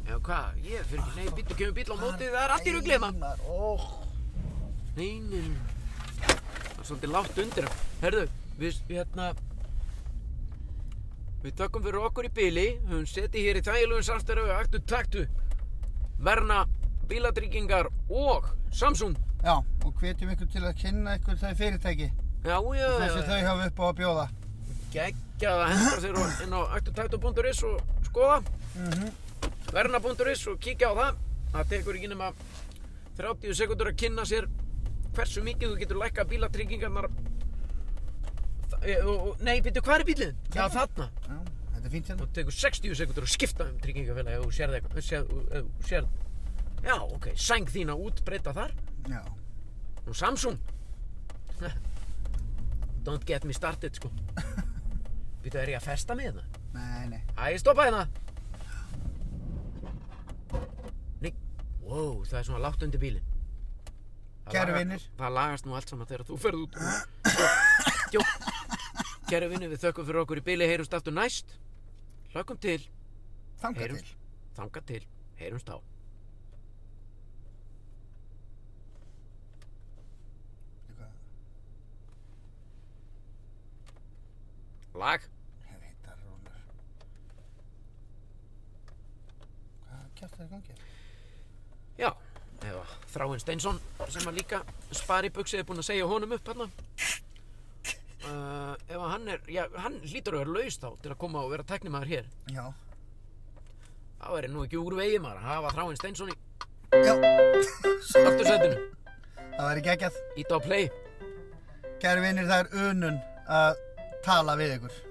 Speaker 1: já hvað, ég fyrir ekki, nei, býttu, kemur bíl á móti, það er allt í ruglið maður.
Speaker 2: Æ, Óh,
Speaker 1: Nei, nei, nei. það er svolítið látt undir. Herðu, við, hérna, við takkum fyrir okkur í bíli, höfum setið hér í þægilegum samstæðu, aktu taktu, verna, bílatryggingar og Samsung.
Speaker 2: já, og hvetjum ykkur til að kynna ykkur þau fyrirtæki.
Speaker 1: Já, já, já.
Speaker 2: Það sem
Speaker 1: já.
Speaker 2: þau hafa upp á að bjóða.
Speaker 1: geggjað að henda sér á- inn á aktutæktu.is og skoða
Speaker 2: Mhm.
Speaker 1: verna.is og kíkja á það það tekur ekki nema 30 sekundur að kynna sér hversu mikið þú getur lækka bílatryggingarnar Þa- e, og, og, nei, byrju, hvað er bílinn? Já, þarna
Speaker 2: Já, þetta er fínt hérna.
Speaker 1: og tekur 60 sekundur að skipta um tryggingafélagi ef þú sérð eitthvað sér, sér, sér, já, ok, sæng þína út, breyta þar
Speaker 2: Já.
Speaker 1: og Samsung don't get me started, sko byrju, er ég að festa mig það?
Speaker 2: Nei, nei.
Speaker 1: Æ, stoppa hérna Nei, wow, það er svona látt undir bílinn Það
Speaker 2: Kæru
Speaker 1: lagar-
Speaker 2: vinir.
Speaker 1: Það lagast nú allt saman þegar þú ferð út Jó, kæru vinnir, við þökkum fyrir okkur í bíli Heyrumst aftur næst Hlökkum til,
Speaker 2: Þanga
Speaker 1: Heyrum.
Speaker 2: til.
Speaker 1: þanga til, heyrumst á Lag
Speaker 2: Heitar rúnar. Hvað kjátt það í gangi?
Speaker 1: Já, eða Þráinn Steinsson sem að líka spari buksið er búinn að segja honum upp hérna uh, Ef að hann er, já, hann hlýtur að vera laus þá til að koma og vera teknimaður hér
Speaker 2: Já.
Speaker 1: þá er nú ekki úr vegi maður að hafa Þráinn Steinsson í
Speaker 2: Já,
Speaker 1: aftursætinu
Speaker 2: það væri geggjað.
Speaker 1: Íta á play
Speaker 2: Kæru vinir, það er unun að tala við ykkur.